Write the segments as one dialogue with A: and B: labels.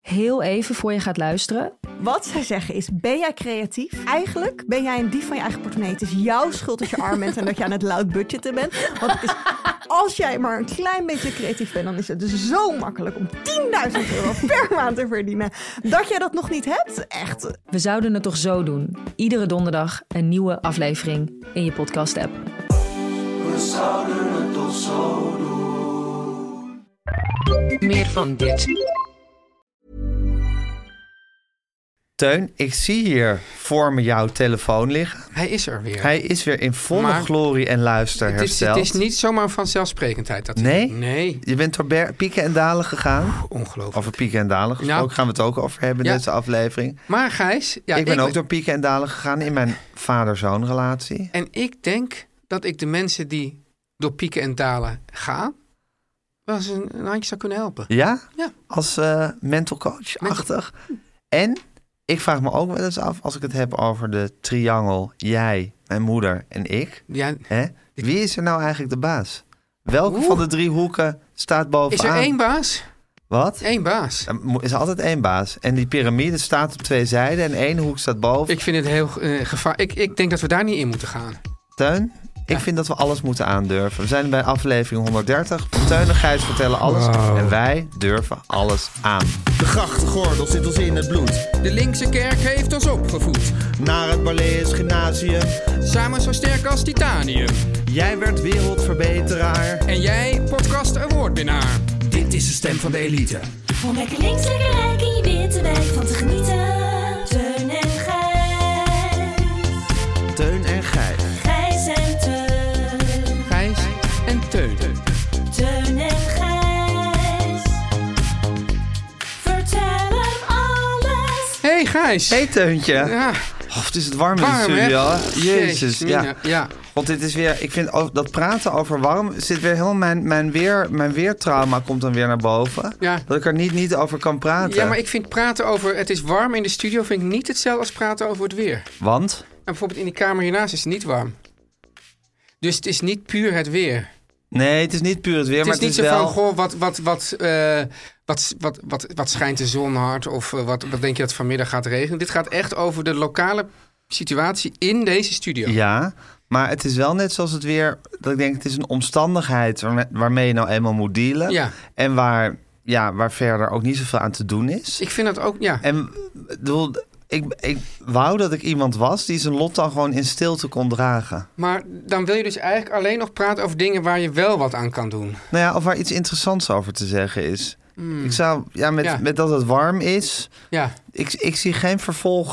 A: Heel even voor je gaat luisteren.
B: Wat zij zeggen is, ben jij creatief? Eigenlijk ben jij een dief van je eigen portemonnee. Het is jouw schuld dat je arm bent en dat je aan het loud budgetten bent. Want het is, als jij maar een klein beetje creatief bent, dan is het dus zo makkelijk om 10.000 euro per maand te verdienen. Dat jij dat nog niet hebt, echt.
A: We zouden het toch zo doen. Iedere donderdag een nieuwe aflevering in je podcast app.
C: Meer van dit.
D: Teun, ik zie hier voor me jouw telefoon liggen.
E: Hij is er weer.
D: Hij is weer in volle
E: Maar
D: glorie en luister
E: het, is,
D: hersteld.
E: het is niet zomaar een vanzelfsprekendheid. Dat hij-
D: Nee?
E: Nee,
D: Je bent door ber- pieken en dalen gegaan.
E: ongelooflijk.
D: Over pieken en dalen gesproken
E: Nou.
D: gaan we het ook over hebben in
E: Ja.
D: deze aflevering.
E: Maar Gijs... Ja,
D: ik ben ook
E: weet-
D: door pieken en dalen gegaan in mijn vader-zoon relatie.
E: En ik denk dat ik de mensen die door pieken en dalen gaan... wel eens een, een handje zou kunnen helpen.
D: Ja?
E: Ja.
D: Als eh, mental coach-achtig. En ik vraag me ook wel eens af, als ik het heb over de triangel, jij, mijn moeder en ik.
E: Ja,
D: Hè? Wie is er nou eigenlijk de baas? Welke van de drie hoeken staat
E: is
D: bovenaan?
E: er één baas?
D: Wat?
E: Eén baas.
D: Er mo- is altijd één baas. En die piramide staat op twee zijden en één hoek staat boven.
E: Ik vind het heel eh, gevaar. Ik, ik denk dat we daar niet in moeten gaan.
D: Teun, ik vind dat we alles moeten aandurven. We zijn bij aflevering 130. Teun en Gijs vertellen alles. En wij durven alles aan.
F: De grachtengordel zit ons in het bloed.
E: De linkse kerk heeft ons opgevoed.
F: Naar het Barlees Gymnasium.
E: Samen zo sterk als titanium.
D: Jij werd wereldverbeteraar.
E: En jij, podcast awardwinnaar.
F: Dit is de stem van de elite.
G: Om lekker links, lekker rijk in je witte wijk van te genieten. Teun en Gijs.
D: Teun en Gijs.
G: Gijs en Teun.
E: Gijs en Teun.
G: Teun en Gijs. Vertel hem alles.
E: Hey Gijs.
D: Hey Teuntje.
E: Ja,
D: Oh, het is het warm in de
E: warm hè?
D: studio. hè? Jezus.
E: mina.
D: Ja.
E: ja.
D: Want dit is weer, ik vind ook dat praten over warm zit weer helemaal mijn, mijn, weer, mijn weertrauma komt dan weer naar boven.
E: Ja.
D: Dat ik er niet, niet over kan praten.
E: Ja, maar ik vind praten over het is warm in de studio vind ik niet hetzelfde als praten over het weer.
D: Want?
E: En bijvoorbeeld in die kamer hiernaast is het niet warm. Dus het is niet puur het weer.
D: Nee, het is niet puur het weer,
E: Het
D: maar
E: is niet zo
D: wel...
E: van, goh, wat, wat, wat, eh, wat, wat, wat, wat schijnt de zon hard of eh, wat, wat denk je dat het vanmiddag gaat regenen. Dit gaat echt over de lokale situatie in deze studio.
D: Ja, maar het is wel net zoals het weer. Dat ik denk, het is een omstandigheid waarme- waarmee je nou eenmaal moet dealen.
E: Ja.
D: En waar, ja, waar verder ook niet zoveel aan te doen is.
E: Ik vind dat ook, ja.
D: En ik bedoel, ik, ik wou dat ik iemand was die zijn lot dan gewoon in stilte kon dragen.
E: Maar dan wil je dus eigenlijk alleen nog praten over dingen waar je wel wat aan kan doen.
D: Nou ja, of waar iets interessants over te zeggen is. Ik zou, ja met,
E: Hmm. Ja.
D: met dat het warm is.
E: Ja,
D: Ik, ik zie geen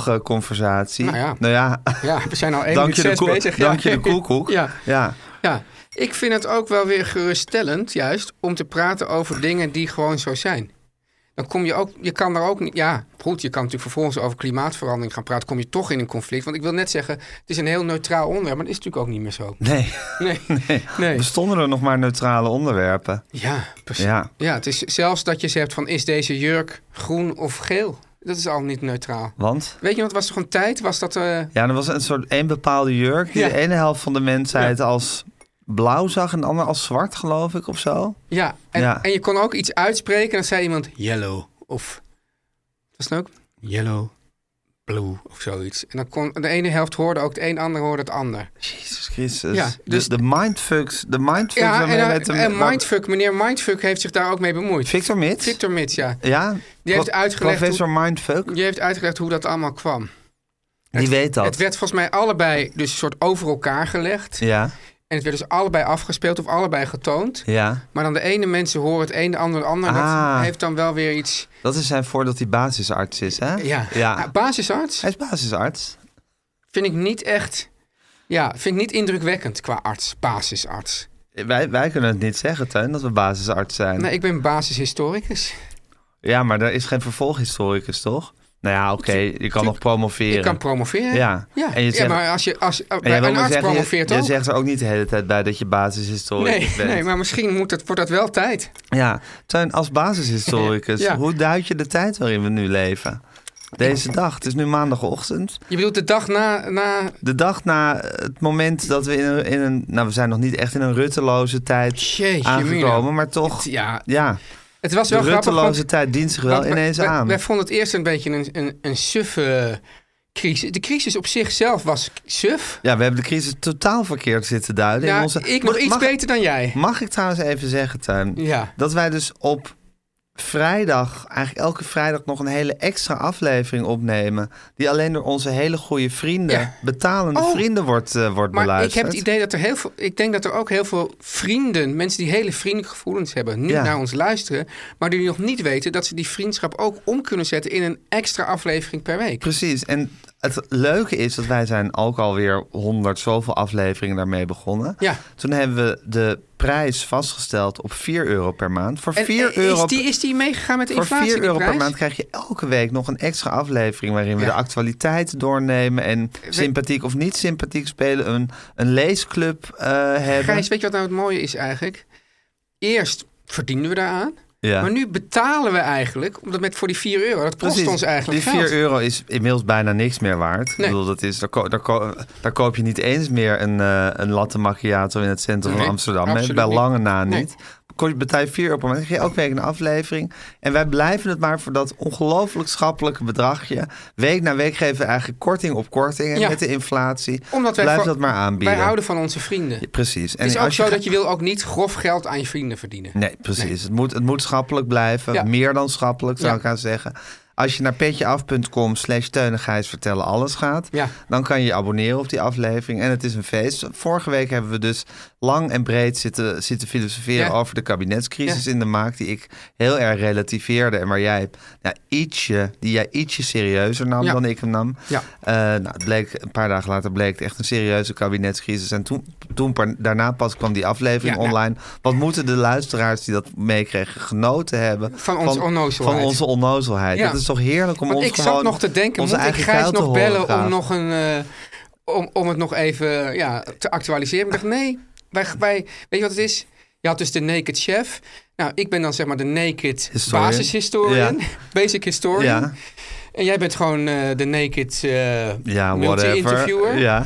D: vervolgconversatie.
E: Nou ja.
D: nou ja.
E: ja we zijn al één
D: Dank
E: minuut
D: je de
E: zes
D: koe-
E: bezig.
D: dank
E: Ja.
D: je de koekoek.
E: Ja.
D: ja.
E: Ja, ik vind het ook wel weer geruststellend, juist, om te praten over dingen die gewoon zo zijn. Dan kom je ook, je kan daar ook niet, ja, goed, je kan natuurlijk vervolgens over klimaatverandering gaan praten, kom je toch in een conflict. Want ik wil net zeggen, het is een heel neutraal onderwerp, maar dat is natuurlijk ook niet meer zo.
D: Nee.
E: Nee, nee.
D: Bestonden er nog maar neutrale onderwerpen?
E: Ja, precies.
D: Ja.
E: Ja. het is zelfs dat je zegt van, is deze jurk groen of geel? Dat is al niet neutraal.
D: Want?
E: Weet je, want was toch een tijd, was dat... eh,
D: Ja, er was een soort één bepaalde jurk die
E: Ja.
D: de ene helft van de mensheid als blauw zag en de andere als zwart, geloof ik, of zo.
E: ja, en,
D: Ja.
E: en je kon ook iets uitspreken en dan zei iemand yellow of... Dat is dan ook yellow, blue of zoiets. En dan kon de ene helft hoorde ook het een, de andere hoorde het ander.
D: Jezus Christus.
E: Ja,
D: dus
E: dus-
D: de, de mindfucks, de mindfucks
E: Ja,
D: waarmee
E: en,
D: met de-
E: en
D: waar-
E: Mindfuck, meneer Mindfuck heeft zich daar ook mee bemoeid.
D: Victor Mits?
E: Victor Mits, ja.
D: Ja?
E: Die heeft uitgelegd
D: Professor Mindfuck,
E: Je heeft uitgelegd hoe dat allemaal kwam.
D: die weet dat.
E: Het werd volgens mij allebei dus een soort over elkaar gelegd.
D: Ja,
E: En het werd dus allebei afgespeeld of allebei getoond.
D: ja.
E: Maar dan de ene mensen horen het een, de ander het ander.
D: Ah.
E: Dat heeft dan wel weer iets...
D: Dat is zijn voordeel dat hij basisarts is, hè?
E: Ja. Ah, Basisarts
D: Hij is basisarts.
E: vind ik niet echt... Ja, vind ik niet indrukwekkend qua arts, basisarts.
D: Wij, wij kunnen het niet zeggen, Tuin, dat we basisarts zijn.
E: Nou, ik ben basishistoricus.
D: Ja, maar daar is geen vervolghistoricus, toch? Nou ja, oké, je kan nog promoveren.
E: Je kan promoveren.
D: Ja.
E: ja.
D: En je zegt-
E: maar als je, als,
D: En jij
E: bij
D: wil
E: een
D: maar
E: arts
D: zeggen, je-
E: promoveert
D: Je
E: ook.
D: zegt er ook niet de hele tijd bij dat je basishistoricus
E: nee,
D: bent.
E: nee, maar misschien moet dat, wordt dat wel tijd.
D: Ja, Tuin, als basishistoricus,
E: Ja.
D: hoe duid je de tijd waarin we nu leven? Deze dag, het is nu maandagochtend.
E: Je bedoelt de dag na... na
D: De dag na het moment dat we in een, in een nou we zijn nog niet echt in een rutteloze tijd
E: Jeetje,
D: aangekomen,
E: mina.
D: maar toch,
E: ja,
D: ja,
E: het was wel
D: de
E: grappig.
D: rutteloze
E: want-
D: tijd dient zich wel
E: want wij-
D: ineens
E: wij-
D: aan.
E: Wij vonden het eerst een beetje een, een, een suffe crisis. De crisis op zichzelf was suf.
D: ja, we hebben de crisis totaal verkeerd zitten duiden. in
E: Ja,
D: onze,
E: ik nog
D: Mag-
E: iets
D: mag-
E: beter dan jij.
D: Mag ik trouwens even zeggen, Tuin?
E: Ja.
D: Dat wij dus op vrijdag, eigenlijk elke vrijdag, nog een hele extra aflevering opnemen. Die alleen door onze hele goede vrienden,
E: Ja.
D: betalende
E: Oh.
D: vrienden, wordt, eh, wordt
E: Maar ik
D: beluisterd.
E: heb het idee dat er heel veel. Ik denk dat er ook heel veel vrienden, mensen die hele vriendelijke gevoelens hebben, nu
D: Ja.
E: naar ons luisteren. Maar die nog niet weten dat ze die vriendschap ook om kunnen zetten in een extra aflevering per week.
D: Precies. En het leuke is dat wij zijn ook alweer honderd zoveel afleveringen daarmee begonnen.
E: Ja.
D: Toen hebben we de prijs vastgesteld op 4 euro per maand. Voor
E: En eh,
D: 4
E: is,
D: euro
E: die, is die meegegaan met de
D: Voor
E: inflatie?
D: 4
E: die
D: euro per
E: prijs?
D: maand krijg je elke week nog een extra aflevering... waarin we
E: Ja. Eh,
D: de actualiteit doornemen en sympathiek of niet sympathiek spelen. Een, een leesclub eh, hebben.
E: Gijs, weet je wat nou het mooie is eigenlijk? Eerst verdienen we daaraan.
D: Ja.
E: Maar nu betalen we eigenlijk, omdat met voor die 4 euro, dat kost
D: Precies.
E: ons eigenlijk
D: Die 4
E: geld.
D: euro is inmiddels bijna niks meer waard. Ik
E: Nee.
D: bedoel, dat is, daar, ko- daar, ko- daar koop je niet eens meer een, eh, een latte macchiato in het centrum
E: Nee,
D: van Amsterdam. hè?
E: absoluut
D: Bij
E: niet.
D: lange na
E: Nee.
D: niet. Ko- Betaal je 4 euro per maand. Dan krijg je elke week een aflevering. En wij blijven het maar voor dat ongelooflijk schappelijke bedragje. Week na week geven we eigenlijk korting op korting. En
E: Ja.
D: met de inflatie
E: Omdat wij
D: blijven
E: voor-
D: dat maar aanbieden.
E: Wij houden van onze vrienden.
D: Ja, Precies.
E: het is ook zo
D: ga-
E: dat je wil ook niet grof geld aan je vrienden verdienen.
D: Nee, precies. Het, moet, het moet schappelijk blijven.
E: Ja.
D: Meer dan schappelijk, zou
E: Ja.
D: ik gaan zeggen. Als je naar petjeaf.com slash teunigijs vertellen alles gaat...
E: Ja.
D: dan kan je je abonneren op die aflevering. En het is een feest. Vorige week hebben we dus lang en breed zitten, zitten filosoferen...
E: Ja.
D: over de kabinetscrisis
E: Ja.
D: in de maak... die ik heel erg relativeerde. En waar jij, nou, ietsje, die jij ietsje serieuzer nam
E: Ja.
D: dan ik hem nam.
E: Ja.
D: Eh, nou, het bleek, een paar dagen later bleek het echt een serieuze kabinetscrisis. En toen, toen par- daarna pas kwam die aflevering
E: Ja, nou.
D: online. Wat moeten de luisteraars die dat meekregen genoten hebben...
E: Van onze onnozelheid.
D: Van onze onnozelheid.
E: Ja.
D: Dat is toch heerlijk om
E: Want
D: ons
E: ik zat
D: gewoon
E: nog te denken,
D: onze
E: moet ik
D: eigen
E: Gijs
D: kuil te
E: nog
D: horen
E: bellen om,
D: graag.
E: nog een, eh, om, om het nog even ja, te actualiseren? Maar ik dacht, nee, wij, wij, weet je wat het is? Je had dus de Naked Chef. Nou, ik ben dan zeg maar de Naked
D: Historian.
E: basishistorian,
D: Ja.
E: basic historian.
D: Ja.
E: En jij bent gewoon eh, de Naked eh
D: Ja,
E: multi-interviewer.
D: whatever. Ja.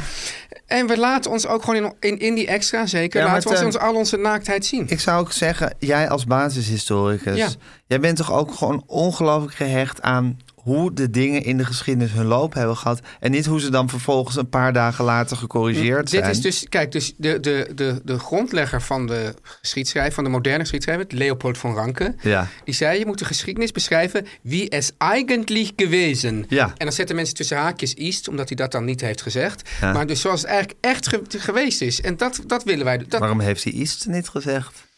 E: En we laten ons ook gewoon in, in, in die extra, zeker,
D: Ja, eh, maar
E: laten we ons,
D: ten-
E: ons al onze naaktheid zien.
D: Ik zou ook zeggen, jij als basishistoricus...
E: Ja.
D: jij bent toch ook gewoon ongelooflijk gehecht aan... hoe de dingen in de geschiedenis hun loop hebben gehad... en niet hoe ze dan vervolgens een paar dagen later gecorrigeerd zijn.
E: Dit is dus, kijk, dus de, de, de, de grondlegger van de geschiedschrijver, van de moderne geschiedschrijver, Leopold van Ranke,
D: Ja.
E: die zei: Je moet de geschiedenis beschrijven wie es eigenlijk gewezen.
D: Ja.
E: En dan zetten mensen tussen haakjes East, omdat hij dat dan niet heeft gezegd.
D: Ja.
E: Maar dus zoals het eigenlijk echt ge- geweest is. En dat, dat willen wij. Dat,
D: Waarom heeft hij iets niet gezegd?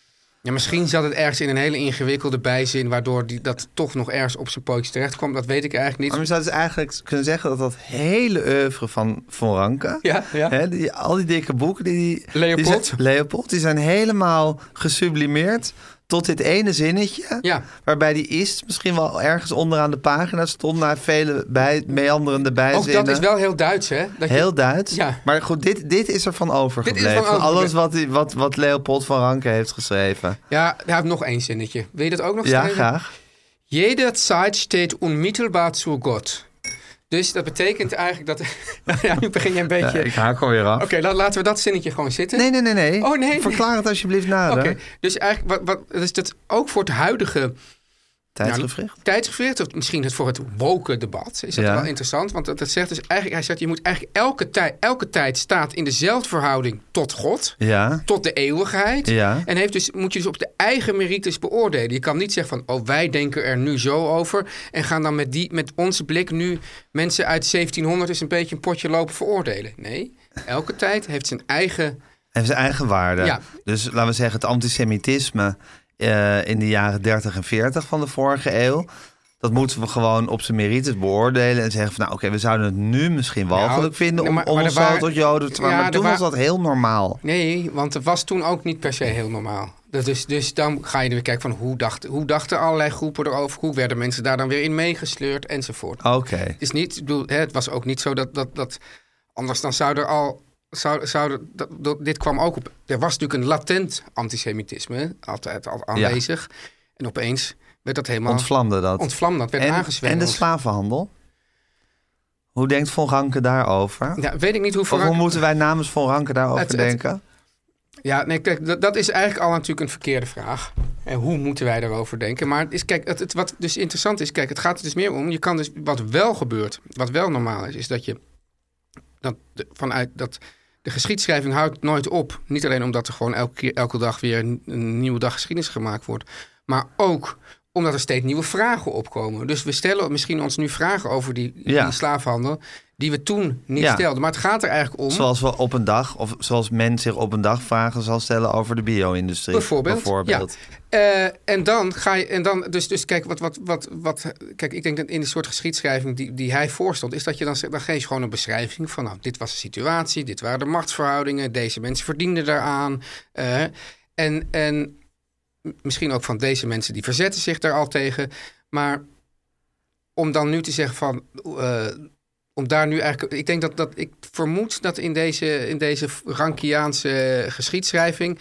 E: ja, misschien zat het ergens in een hele ingewikkelde bijzin, waardoor die, dat toch nog ergens op zijn pootjes terecht kwam. Dat weet ik eigenlijk
D: Maar
E: niet.
D: je zou dus eigenlijk kunnen zeggen dat dat hele oeuvre van Von Ranke...
E: Ja, ja.
D: Hè, die, al die dikke boeken die... die die
E: Leopold.
D: zijn- Leopold, die zijn helemaal gesublimeerd tot dit ene zinnetje...
E: Ja.
D: waarbij die is misschien wel ergens onderaan de pagina stond... na vele bij, meanderende
E: Ook
D: bijzinnen.
E: dat is wel heel Duits, hè? Dat je-
D: Heel Duits.
E: Ja.
D: Maar goed, dit, dit is ervan overgebleven.
E: van
D: Alles
E: overgebleven.
D: wat, die- wat, wat Leopold van Ranke heeft geschreven.
E: Ja, hij heeft nog één zinnetje. Wil je dat ook nog
D: Ja,
E: schrijven?
D: graag.
E: Jederzeit steht unmittelbar zu Gott. Dus dat betekent eigenlijk dat... ja, nu begin je een
D: Ja,
E: beetje...
D: ik haak alweer af.
E: Oké, la- laten we dat zinnetje gewoon zitten.
D: Nee, nou, nee, nee, nee.
E: Oh, nee, nee.
D: Verklaar het alsjeblieft nader.
E: Oké, dus eigenlijk, wat, wat, dus dat ook voor het huidige
D: Tijdsgevricht.
E: Nou, tijdsgevricht, of misschien het voor het woken debat, is dat
D: Ja.
E: wel interessant. Want dat, dat zegt dus eigenlijk, hij zegt, je moet eigenlijk elke, tijd, elke tijd staat in dezelfde verhouding tot God.
D: Ja.
E: tot de eeuwigheid.
D: Ja.
E: En heeft dus, moet je dus op de eigen merites beoordelen. Je kan niet zeggen van, oh, wij denken er nu zo over. En gaan dan met, die, met onze blik nu mensen uit 1700 eens een beetje een potje lopen veroordelen. Nee, elke tijd heeft zijn eigen...
D: En zijn eigen waarde.
E: Ja.
D: Dus laten we zeggen, het antisemitisme eh, in de jaren 30 en 40 van de vorige eeuw. Dat moeten we gewoon op zijn merites beoordelen en zeggen van nou oké, we zouden het nu misschien walgelijk
E: Nou,
D: vinden om,
E: maar-
D: om
E: maar er
D: ons zo
E: waren-
D: tot Joden te maken.
E: Ja,
D: maar
E: er
D: toen was
E: wa-
D: dat heel normaal.
E: Nee, want het was toen ook niet per se heel normaal. Dat Dus, dus dan ga je er weer kijken van hoe dachten, hoe dachten allerlei groepen erover? Hoe werden mensen daar dan weer in meegesleurd enzovoort?
D: Oké.
E: Het, is niet, ik bedoel, hè, het was ook niet zo dat, dat, dat anders dan zou er al... Zou, zou er- dat, dat- dit kwam ook op... Er was natuurlijk een latent antisemitisme hè, altijd al aanwezig. En opeens werd dat helemaal...
D: Ontvlamde dat.
E: Ontvlam dat, werd
D: en, en
E: aangezwengeld.
D: de slavenhandel? Hoe denkt Von Ranke daarover?
E: Ja, weet ik niet hoe...
D: of hoe moeten wij namens Von Ranke daarover
E: Het- het-
D: denken?
E: Ja, nee, kijk, dat, dat is eigenlijk al natuurlijk een verkeerde vraag. En hoe moeten wij daarover denken? Maar het is, kijk, het, het- wat dus interessant is, kijk, het gaat er dus meer om. Je kan dus, wat wel gebeurt, wat wel normaal is, is dat je dat de- vanuit dat de geschiedschrijving houdt nooit op. Niet alleen omdat er gewoon elke keer, elke dag weer een, een nieuwe dag geschiedenis gemaakt wordt, maar ook omdat er steeds nieuwe vragen opkomen. Dus we stellen misschien ons nu vragen over die,
D: Ja.
E: die slaafhandel die we toen niet
D: Ja.
E: stelden. Maar het gaat er eigenlijk om.
D: Zoals we op een dag, of zoals men zich op een dag vragen zal stellen over de bio-industrie.
E: Bijvoorbeeld.
D: Bijvoorbeeld.
E: Ja. Eh, en dan ga je. En dan, dus, dus kijk, wat, wat, wat, wat. Kijk, ik denk dat in de soort geschiedschrijving die, die hij voorstond, is dat je dan zegt: dan geef je gewoon een beschrijving van. Nou, dit was de situatie, dit waren de machtsverhoudingen, deze mensen verdienden daaraan. eh, en, en misschien ook van deze mensen die verzetten zich daar al tegen. Maar om dan nu te zeggen van. eh, om daar nu eigenlijk. Ik denk dat, dat ik vermoed dat in deze, in deze Rankiaanse geschiedschrijving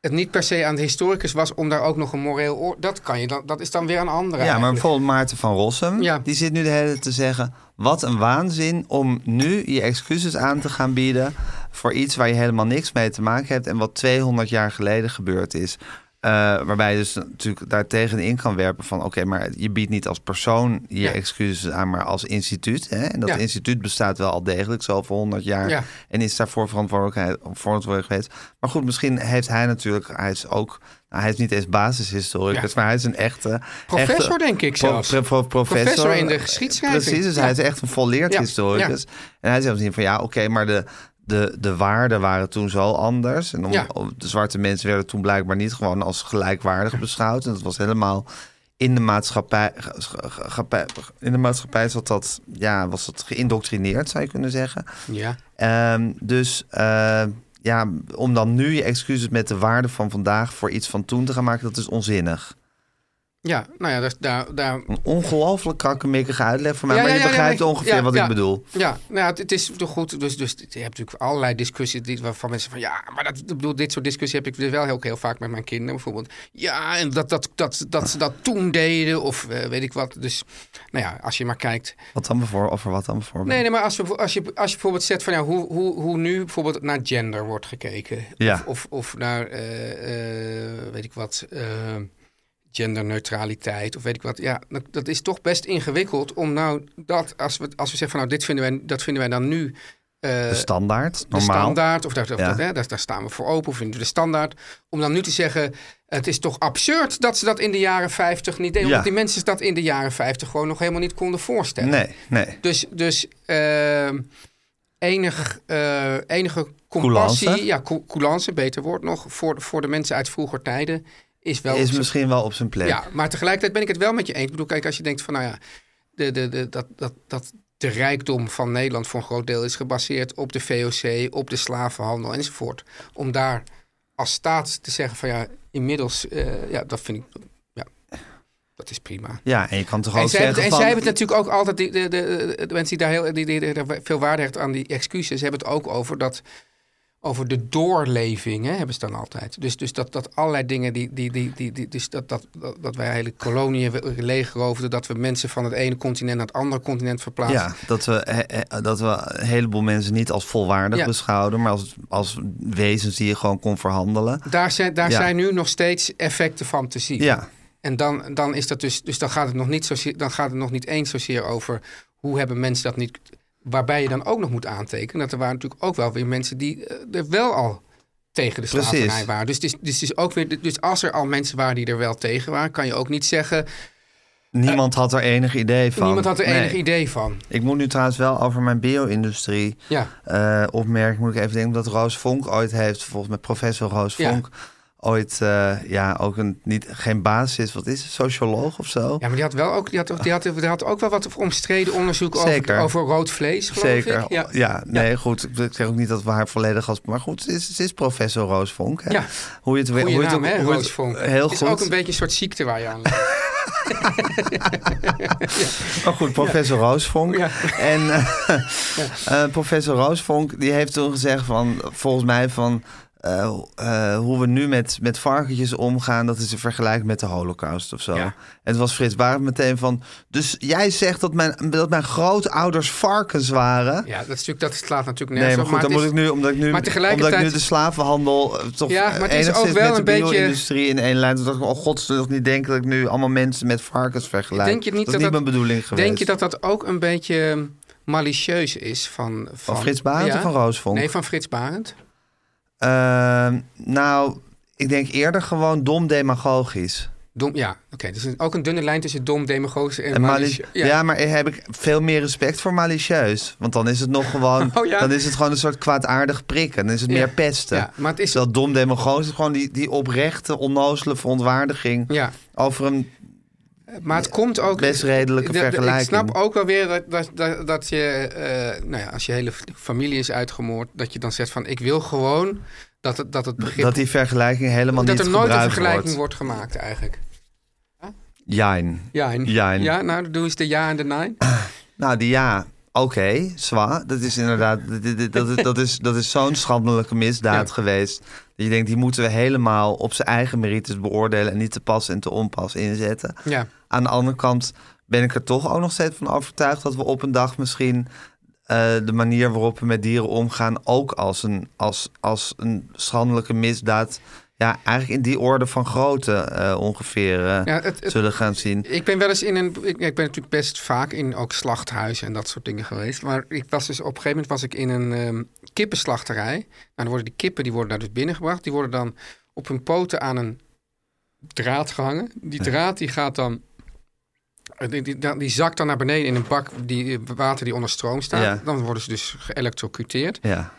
E: het niet per se aan de historicus was om daar ook nog een moreel oor. Dat kan je dan, dat is dan weer een andere.
D: Ja, maar
E: eigenlijk.
D: bijvoorbeeld Maarten van Rossum,
E: Ja.
D: die zit nu de hele tijd te zeggen... wat een waanzin om nu je excuses aan te gaan bieden... voor iets waar je helemaal niks mee te maken hebt... en wat 200 jaar geleden gebeurd is. Eh, waarbij je dus natuurlijk daartegen in kan werpen van... oké, maar je biedt niet als persoon je
E: Ja.
D: excuses aan... maar als instituut. Hè? En dat
E: Ja.
D: instituut bestaat wel al degelijk zoveel honderd jaar...
E: Ja.
D: en is daarvoor verantwoordelijkheid- verantwoordelijk geweest. Maar goed, misschien heeft hij natuurlijk... hij is ook... nou, hij is niet eens basishistoricus,
E: Ja.
D: maar hij is een echte...
E: Professor,
D: Echte-
E: denk ik zelfs.
D: eh, Pro- pro- professor,
E: Professor in de geschiedschrijving.
D: Precies, dus
E: Ja.
D: hij is echt een volleerd
E: Ja,
D: historicus. En hij zegt misschien van ja, oké, maar de, de, de waarden waren toen zo anders. En om,
E: Ja.
D: de zwarte mensen werden toen blijkbaar niet gewoon als gelijkwaardig beschouwd. En dat was helemaal in de maatschappij, ge- ge- ge- in de maatschappij zat dat, ja, was dat geïndoctrineerd, zou je kunnen zeggen.
E: Ja.
D: Ehm, dus eh, ja, om dan nu je excuses met de waarde van vandaag voor iets van toen te gaan maken, dat is onzinnig.
E: Ja, nou ja, daar, daar, daar
D: Een ongelooflijk krakkemikkige uitleg van mij.
E: Ja,
D: maar
E: ja,
D: je
E: ja, ja,
D: begrijpt
E: nee.
D: ongeveer
E: Ja,
D: wat
E: ja.
D: ik bedoel.
E: Ja, nou ja, het, het is toch goed. Dus, dus je hebt natuurlijk allerlei discussies die, waarvan mensen van ja, maar dat, ik bedoel, dit soort discussies heb ik dus wel heel, heel vaak met mijn kinderen bijvoorbeeld. Ja, en dat, dat, dat, dat ze dat toen deden of eh, weet ik wat. Dus nou ja, als je maar kijkt.
D: Wat dan bijvoorbeeld? Over wat dan bijvoorbeeld?
E: Nee, nee maar als je, als, je, als je bijvoorbeeld zegt van ja, hoe, hoe, hoe nu bijvoorbeeld naar gender wordt gekeken.
D: Ja.
E: Of, of, of naar eh, eh, weet ik wat. eh, genderneutraliteit of weet ik wat. Ja, dat, dat is toch best ingewikkeld om nou dat, als we, als we zeggen van nou, dit vinden wij, dat vinden wij dan nu eh,
D: de standaard,
E: de
D: Dus normaal.
E: standaard, of, daar, of
D: Ja.
E: dat, hè, daar, daar staan we voor open, of vinden we de standaard. Om dan nu te zeggen, het is toch absurd dat ze dat in de jaren 50 niet deden.
D: Ja.
E: Want die mensen dat in de jaren 50 gewoon nog helemaal niet konden voorstellen.
D: Nee, nee.
E: Dus, dus ehm, enig, eh, enige compassie,
D: Coulance.
E: ja, cou- coulance, beter woord nog, voor, voor de mensen uit vroeger tijden is wel...
D: Is misschien wel op zijn plek.
E: Ja, maar tegelijkertijd ben ik het wel met je eens. Ik bedoel, kijk, als je denkt van, nou ja, de, de, de, dat, dat, dat de rijkdom van Nederland voor een groot deel is gebaseerd op de VOC, op de slavenhandel enzovoort. Om daar als staat te zeggen van, ja, inmiddels, eh, ja, dat vind ik, ja, dat is prima.
D: Ja, en je kan toch
E: En
D: ook
E: zij,
D: zeggen
E: hebben, en
D: van...
E: zij hebben het natuurlijk ook altijd, die- de, de, de, de mensen die daar, heel, die, die, die daar veel waarde hechten aan die excuses, hebben het ook over dat, over de doorleving, hè, hebben ze dan altijd. Dus, dus dat, dat allerlei dingen, die, die, die, die, die- dus dat, dat, dat, dat wij hele koloniën we- leegroofden, dat we mensen van het ene continent naar het andere continent verplaatsen.
D: Ja, dat we, he- he- dat we een heleboel mensen niet als volwaardig
E: Ja.
D: beschouwen... maar als, als wezens die je gewoon kon verhandelen.
E: Daar, zijn, daar
D: Ja.
E: zijn nu nog steeds effecten van te zien.
D: Ja,
E: En dan, dan is dat dus, dus dan gaat het nog niet zozeer, dan gaat het nog niet eens zozeer over hoe hebben mensen dat niet. Waarbij je dan ook nog moet aantekenen dat er waren natuurlijk ook wel weer mensen die eh, er wel al tegen de
D: Precies.
E: slavernij waren. Dus, het is- dus, het is ook weer, dus als er al mensen waren die er wel tegen waren, kan je ook niet zeggen.
D: niemand had er enig idee van.
E: Eh, niemand had er
D: Nee.
E: enig idee van.
D: Ik moet nu trouwens wel over mijn bio-industrie
E: Ja.
D: eh, opmerking moet ik even denken. Omdat Roos Vonk ooit heeft, volgens mij professor Roos
E: Ja.
D: Vonk... ooit eh, ja, ook een, niet, geen basis is. Wat is het? Socioloog of zo?
E: Ja, maar die had, wel ook, die had, ook- die had, die had ook wel wat omstreden onderzoek over,
D: Zeker.
E: over rood vlees, geloof
D: Zeker.
E: ik.
D: Ja. nee, goed. Ik- Ik zeg ook niet dat we haar volledig als... Maar goed, ze is, ze is professor Roosvonk. Hè?
E: Ja.
D: Hoe je het,
E: Goeie
D: hoe je het
E: naam,
D: ook-
E: hè,
D: hoe je het-
E: Roosvonk.
D: Heel
E: Het
D: goed.
E: is ook een beetje een soort ziekte waar je aan lijdt.
D: Maar Oh, goed, professor Roosvonk.
E: Ja.
D: En eh, eh, professor Roosvonk die heeft toen gezegd van, volgens mij van... eh, eh, hoe we nu met, met varkentjes omgaan, dat is een vergelijking met de holocaust of zo.
E: Ja.
D: En het was Frits Barend meteen van... Dus jij zegt dat mijn, dat mijn grootouders varkens waren?
E: Ja, dat, is natuurlijk, dat slaat natuurlijk
D: Nee,
E: nergens
D: maar
E: op,
D: goed, dan
E: het
D: moet ik
E: is-
D: nu, omdat ik nu,
E: maar
D: omdat ik nu
E: tegelijkertijd-
D: de slavenhandel eh, toch
E: Ja, maar het is
D: enigszins
E: ook wel
D: met
E: een
D: de
E: beetje-
D: bio-industrie in één lijn. Toen dacht ik, oh god, ze toch niet denken dat ik nu allemaal mensen met varkens vergelijk.
E: Denk je niet
D: dat is
E: dat
D: niet
E: dat-
D: mijn bedoeling geweest.
E: Denk je dat dat ook een beetje malicieus is van... Van,
D: Van Frits Barend
E: Ja.
D: of van Roosvonk?
E: Nee, van Frits Barend.
D: Ehm, nou, ik denk eerder gewoon dom demagogisch.
E: Dom, ja, oké. dus een- ook een dunne lijn tussen dom, demagogisch en,
D: En mali-
E: malicieus.
D: ja. maar heb ik veel meer respect voor malicieus. Want dan is het nog gewoon,
E: Oh ja.
D: dan is het gewoon een soort kwaadaardig prikken. Dan is het
E: Ja.
D: meer pesten.
E: Ja, maar het is-
D: Terwijl dom demagogisch is gewoon die, die oprechte, onnozele verontwaardiging
E: Ja.
D: over een
E: Maar het komt ook...
D: best redelijke
E: Ik- ik-
D: vergelijking.
E: Ik snap ook wel weer dat, dat, dat, dat je, eh, nou ja, als je hele familie is uitgemoord, dat je dan zegt van ik wil gewoon dat het, dat het begrip...
D: dat die vergelijking helemaal
E: dat
D: niet
E: er nooit een
D: gebruikt
E: vergelijking wordt.
D: wordt.
E: gemaakt eigenlijk.
D: Jijn.
E: Ja, en-
D: Jijn.
E: ja, nou doe eens de ja en de nein.
D: Nou, die ja. Oké, zwaar. Dat is inderdaad, dat, dat- dat, dat is, dat is zo'n schandelijke misdaad
E: Ja.
D: geweest. Dat je denkt, die moeten we helemaal op zijn eigen merites beoordelen en niet te pas en te onpas inzetten.
E: Ja.
D: Aan de andere kant ben ik er toch ook nog steeds van overtuigd dat we op een dag misschien eh, de manier waarop we met dieren omgaan ook als een, als, als een schandelijke misdaad. Ja, eigenlijk in die orde van grootte eh, ongeveer eh,
E: Ja, het- het-
D: zullen gaan zien.
E: Ik ben wel eens in een. Ik, ik ben natuurlijk best vaak in ook slachthuizen en dat soort dingen geweest. Maar ik was dus op een gegeven moment was ik in een ehm, kippenslachterij. Nou, dan worden die kippen die worden daar dus binnengebracht. Die worden dan op hun poten aan een draad gehangen. Die draad die gaat dan. eh, Die, die, die zakt dan naar beneden in een bak die, water die onder stroom staat.
D: Ja.
E: Dan worden ze dus geëlectrocuteerd.
D: Ja.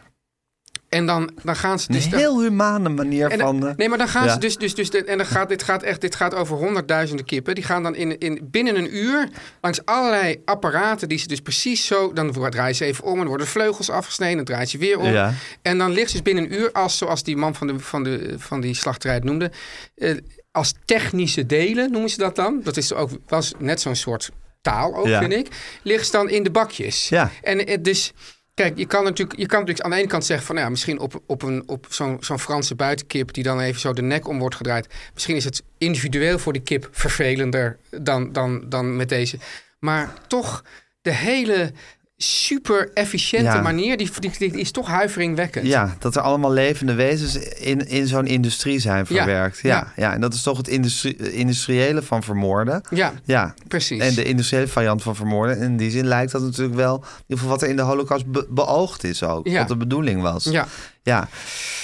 E: En dan, dan gaan ze
D: Een
E: dus.
D: heel humane manier
E: En
D: van...
E: dan-
D: eh,
E: nee, maar dan gaan
D: ja.
E: ze dus, dus, dus dit- en dan gaat, dit gaat echt, dit gaat over honderdduizenden kippen. Die gaan dan in, in, binnen een uur langs allerlei apparaten die ze dus precies zo, dan wo- draaien ze even om en dan worden de vleugels afgesneden, dan draait ze weer om.
D: Ja.
E: En dan ligt ze dus binnen een uur, als, zoals die man van, de, van, de, van die slachterij het noemde, eh, als technische delen noemen ze dat dan. Dat is ook, was net zo'n soort taal ook,
D: Ja.
E: vind ik. Ligt ze dan in de bakjes.
D: Ja.
E: En het dus, kijk, je kan natuurlijk, je kan natuurlijk aan de ene kant zeggen van, nou ja, misschien op, op, een, op zo'n, zo'n Franse buitenkip die dan even zo de nek om wordt gedraaid. Misschien is het individueel voor die kip vervelender dan, dan, dan met deze. Maar toch de hele super efficiënte
D: Ja.
E: manier, die, die, die is toch huiveringwekkend.
D: Ja, dat er allemaal levende wezens in, in zo'n industrie zijn verwerkt. Ja,
E: ja.
D: ja. en dat is toch het industrie, industriële van vermoorden.
E: Ja,
D: Ja,
E: precies.
D: En de industriële variant van vermoorden. En in die zin lijkt dat natuurlijk wel, in ieder geval wat er in de holocaust be- beoogd is ook.
E: Ja.
D: Wat de bedoeling was.
E: Ja.
D: ja.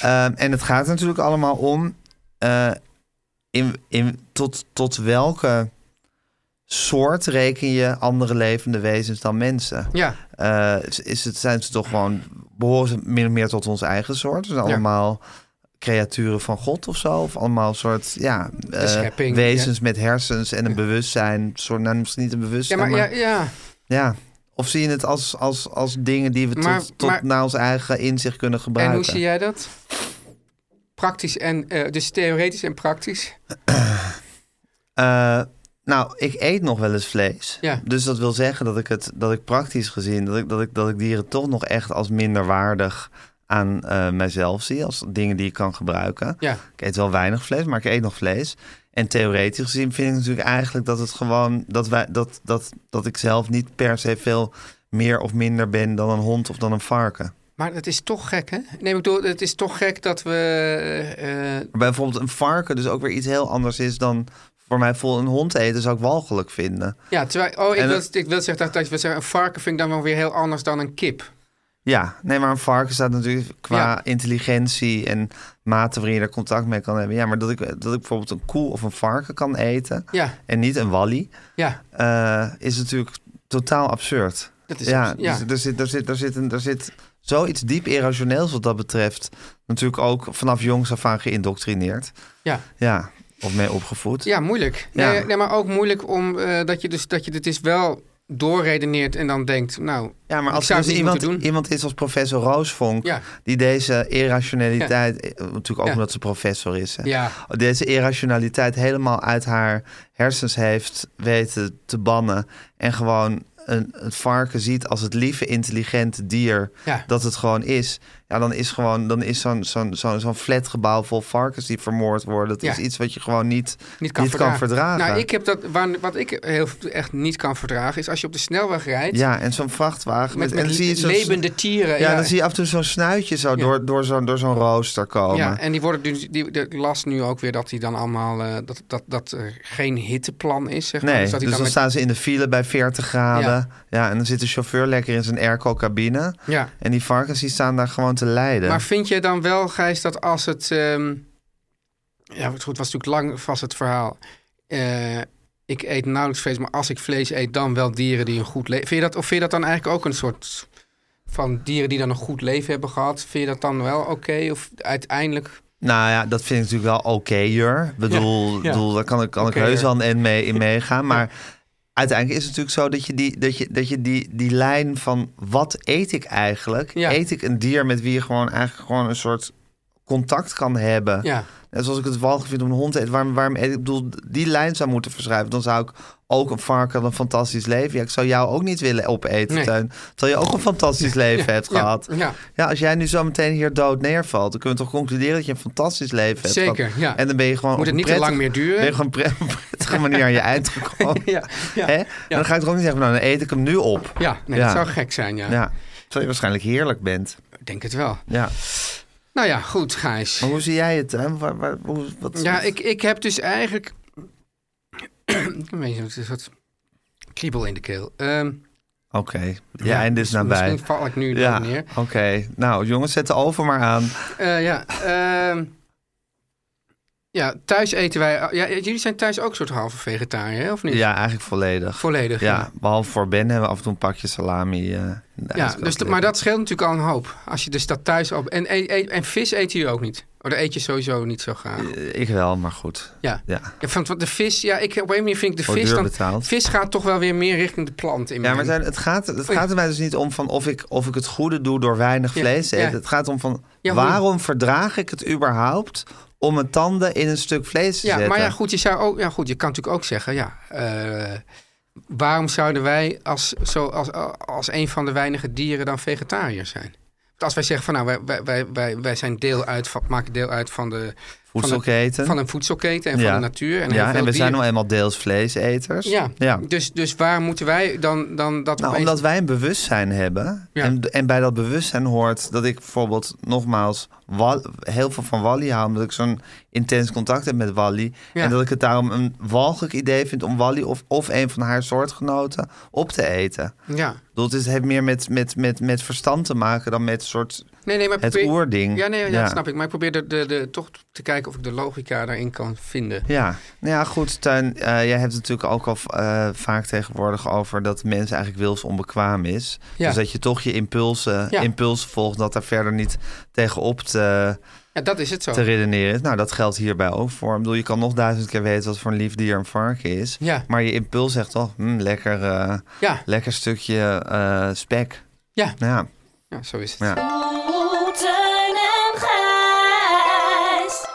D: Ehm, en het gaat natuurlijk allemaal om eh, in, in, tot, tot welke soort reken je andere levende wezens dan mensen.
E: Ja.
D: Eh, is- is het, zijn ze toch gewoon, behoren ze min of meer tot ons eigen soort? Ze zijn
E: Ja.
D: allemaal creaturen van God of zo? Of allemaal soort, ja, eh,
E: schepping,
D: wezens met hersens en een bewustzijn. Soort, nou, misschien niet een
E: ja,
D: bewustzijn,
E: maar,
D: maar,
E: ja, ja.
D: ja. Of zie je het als, als, als dingen die we
E: Maar-
D: tot, tot
E: maar-
D: naar ons eigen inzicht kunnen
E: En
D: gebruiken?
E: hoe zie jij dat? Praktisch en, eh, dus theoretisch en praktisch.
D: Eh, nou, ik eet nog wel eens vlees.
E: Ja.
D: Dus dat wil zeggen dat ik het dat ik praktisch gezien, dat ik, dat ik, dat ik dieren toch nog echt als minderwaardig aan eh, mijzelf zie. Als dingen die ik kan gebruiken.
E: Ja.
D: Ik eet wel weinig vlees, maar ik eet nog vlees. En theoretisch gezien vind ik natuurlijk eigenlijk dat het gewoon dat wij dat, dat, dat ik zelf niet per se veel meer of minder ben dan een hond of dan een varken.
E: Maar dat is toch gek, hè? Nee, ik bedoel, het is toch gek dat we... eh, eh,
D: Waarbij bijvoorbeeld een varken dus ook weer iets heel anders is dan voor mij vol een hond eten zou ik walgelijk vinden.
E: ja, terwijl... Oh, ik
D: En
E: wil,
D: dat-
E: ik wil zeggen dat, dat je wil zeggen... Een varken vind ik dan wel weer heel anders dan een kip.
D: Ja, nee, maar een varken staat natuurlijk qua
E: Ja.
D: intelligentie en mate waarin je er contact mee kan hebben. Ja, maar dat ik, dat ik bijvoorbeeld een koe of een varken kan eten
E: Ja.
D: en niet een wallie,
E: Ja,
D: eh, is natuurlijk totaal absurd.
E: Dat is
D: ja,
E: absurd, Dus ja.
D: Dus er zit, er zit, er zit, een, er zit zoiets diep irrationeels wat dat betreft. Natuurlijk ook vanaf jongs af aan geïndoctrineerd.
E: Ja.
D: Ja, of mee opgevoed.
E: Ja, moeilijk.
D: Ja.
E: Nee, nee, maar ook moeilijk om eh, dat je dus dat je dit is wel doorredeneert en dan denkt, nou,
D: Ja, maar
E: ik
D: als
E: zou
D: er dus
E: het niet
D: iemand,
E: moeten doen.
D: iemand is als professor Roosvonk,
E: Ja.
D: die deze irrationaliteit, eh, natuurlijk ook
E: Ja.
D: omdat ze professor is, hè,
E: Ja.
D: deze irrationaliteit helemaal uit haar hersens heeft weten te bannen en gewoon een, het varken ziet als het lieve, intelligente dier
E: Ja.
D: dat het gewoon is. Ja, dan is gewoon dan is zo'n zo'n zo'n zo'n flatgebouw vol varkens die vermoord worden. Dat
E: Ja.
D: is iets wat je gewoon niet,
E: niet kan,
D: verdragen.
E: Nou, ik heb dat, waar, wat ik heel, echt niet kan verdragen is als je op de snelweg rijdt
D: Ja, en zo'n vrachtwagen.
E: met,
D: en
E: met
D: dan zie je zo'n-
E: levende tieren.
D: Ja, dan zie je af en toe zo'n snuitje zo door, door zo'n door zo'n rooster komen.
E: Ja, en die worden dus, die, die- ik las nu ook weer dat die dan allemaal eh, dat, dat, dat er geen hitteplan is. Zeg maar.
D: nee,
E: Dus
D: dus dan,
E: dat die dan met-
D: staan ze in de file bij 40 graden. Ja. en dan zit de chauffeur lekker in zijn airco-cabine.
E: Ja.
D: En die varkens die staan daar gewoon te lijden.
E: Maar vind jij dan wel, Gijs, dat als het. ehm, ja, het goed, was natuurlijk lang vast het verhaal. Eh, ik eet nauwelijks vlees, maar als ik vlees eet, dan wel dieren die een goed leven. Vind je dat, of vind je dat dan eigenlijk ook een soort van dieren die dan een goed leven hebben gehad? Vind je dat dan wel oké? Of uiteindelijk.
D: Nou ja, dat vind ik natuurlijk wel okéjer. Ik bedoel,
E: Ja.
D: bedoel, daar kan ik, kan ik
E: Okéjer.
D: heus wel een en mee, in meegaan. Maar uiteindelijk is het natuurlijk zo dat je, die, dat je, dat je die, die lijn van wat eet ik eigenlijk?
E: Ja.
D: Eet ik een dier met wie je gewoon eigenlijk gewoon een soort contact kan hebben?
E: Ja.
D: Net zoals ik het walgelijk vind om een hond te eten. Waarom, waarom eet ik? Ik bedoel, die lijn zou moeten verschuiven. Dan zou ik ook een varken had een fantastisch leven. Ja, ik zou jou ook niet willen opeten,
E: Nee.
D: Teun. Terwijl je ook een fantastisch leven hebt
E: ja,
D: gehad.
E: ja.
D: Ja, als jij nu zo meteen hier dood neervalt, dan kunnen we toch concluderen dat je een fantastisch leven hebt.
E: Zeker,
D: gehad.
E: ja.
D: En dan ben je gewoon.
E: Moet
D: op
E: het
D: een
E: niet te lang
D: prettig-
E: meer duren.
D: Ben je gewoon pre- op een prettige manier aan je eind gekomen.
E: Ja, ja,
D: Hè?
E: ja.
D: En dan ga ik toch ook niet zeggen, nou, dan eet ik hem nu op.
E: Ja, nee, dat zou gek zijn, ja.
D: Ja. Terwijl je waarschijnlijk heerlijk bent.
E: Ik denk het wel.
D: Ja.
E: Nou ja, goed, Gijs.
D: Maar hoe zie jij het? Hè? Waar, waar- hoe, wat,
E: Ja, ik, ik heb dus eigenlijk. ik weet niet, het is een soort kriebel in de keel. Ehm,
D: Oké, je einde is
E: dus misschien-
D: nabij.
E: Misschien val ik nu
D: ja,
E: daar neer.
D: oké. Nou, jongens, zet de oven maar aan.
E: Eh, ja, ehm, ja, thuis eten wij. Ja, jullie zijn thuis ook een soort halve vegetariër, hè, of niet?
D: Ja, eigenlijk volledig.
E: Volledig.
D: ja,
E: ja.
D: behalve voor Ben hebben we af en toe een pakje salami. eh, in de
E: Ja,
D: ijskast
E: dus, dat-
D: liggen.
E: maar dat scheelt natuurlijk al een hoop. Als je dus dat thuis op. En, en, en- en vis eet je ook niet. Oh, dat eet je sowieso niet zo graag.
D: Eh, Ik wel, maar goed.
E: Ja.
D: Ja.
E: Ja, van, want de vis, ja, ik, op een of andere manier vind ik de
D: Wordt
E: vis
D: duur
E: dan.
D: betaald.
E: Vis gaat toch wel weer meer richting de plant in.
D: Ja, maar
E: mijn-
D: zijn, het, gaat, het
E: Mhm. Oei.
D: gaat er mij dus niet om van of ik, of ik het goede doe door weinig
E: Ja,
D: vlees te eten.
E: ja.
D: Het gaat om van
E: Ja, hoe-
D: waarom verdraag ik het überhaupt om mijn tanden in een stuk vlees te
E: Ja,
D: zetten?
E: maar ja goed, je zou ook, ja, goed, je kan natuurlijk ook zeggen, ja, eh, waarom zouden wij als, zo, als, als een van de weinige dieren dan vegetariërs zijn? Want als wij zeggen van nou, wij, wij- wij, wij, wij zijn deel uit van, maken deel uit van de
D: Voedselketen.
E: van, de, van een voedselketen en van de natuur. En,
D: ja,
E: heel
D: en we
E: veel
D: zijn nou
E: dieren.
D: eenmaal deels vleeseters.
E: ja. Dus, dus waar moeten wij dan, dan dat
D: Nou,
E: opeens-
D: omdat wij een bewustzijn hebben.
E: Ja.
D: En, en bij dat bewustzijn hoort dat ik bijvoorbeeld nogmaals wal- heel veel van Wally hou. Omdat ik zo'n intens contact heb met Wally.
E: Ja.
D: En dat ik het daarom een walgelijk idee vind om Wally of, of een van haar soortgenoten op te eten.
E: Ja.
D: Ik bedoel, het is- het heeft meer met, met, met, met verstand te maken dan met soort.
E: Nee, nee, maar
D: Het oerding.
E: Ja, nee, ja,
D: Ja.
E: dat snap ik. Maar ik probeer de, de, de, toch te kijken of ik de logica daarin kan vinden.
D: Ja, nou ja, goed, Tuin. jij hebt het natuurlijk ook al eh, vaak tegenwoordig over dat de mens eigenlijk wils onbekwaam is.
E: Ja.
D: Dus dat je toch je impulsen,
E: Ja.
D: impulsen volgt, dat daar verder niet tegenop te,
E: Ja, dat is het zo.
D: te redeneren is. Nou, dat geldt hierbij ook voor. Ik bedoel, je kan nog duizend keer weten wat voor een lief dier een varken is.
E: Ja.
D: Maar je impuls zegt toch, hm, lekker, eh,
E: Ja.
D: lekker stukje eh, spek.
E: Ja.
D: Ja,
E: ja, zo is het.
D: ja.
G: Oh, Teun en Gijs.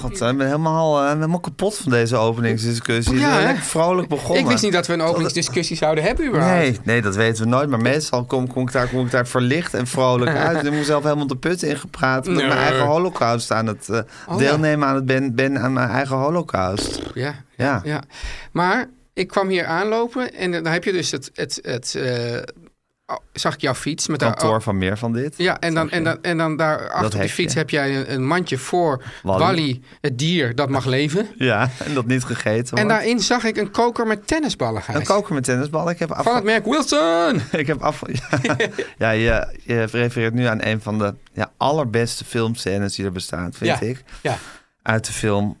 D: God, ik ben helemaal, eh, helemaal kapot van deze openingsdiscussie.
E: Ja,
D: We zijn
E: hè?
D: lekker vrolijk begonnen.
E: Ik wist niet dat we een openingsdiscussie zouden hebben überhaupt.
D: Nee, nee, dat weten we nooit. Maar meestal kom, kom, ik, daar, kom ik daar verlicht en vrolijk uit. Ik heb mezelf helemaal de put ingepraat. Met
E: Nee.
D: mijn eigen holocaust aan het eh,
E: Oh,
D: deelnemen aan het ben, ben aan mijn eigen holocaust.
E: Ja,
D: Ja.
E: ja. ja. Maar ik kwam hier aanlopen en dan heb je dus het... het, het eh, oh, zag ik jouw fiets met daar-
D: Kantoor van meer van dit.
E: Ja, en dan, en dan, en dan daar achter op die
D: hekje.
E: fiets heb jij een, een mandje voor
D: Wally.
E: Wally. het dier dat mag leven.
D: Ja, en dat niet gegeten
E: En
D: wordt.
E: daarin zag ik een koker met tennisballen, Gijs.
D: Een koker met tennisbal. Ik heb af...
E: Van het merk Wilson!
D: Ik heb af... Ja, ja je, je refereert nu aan een van de ja, allerbeste filmscènes die er bestaan, vind
E: ja.
D: ik.
E: Ja,
D: Uit de film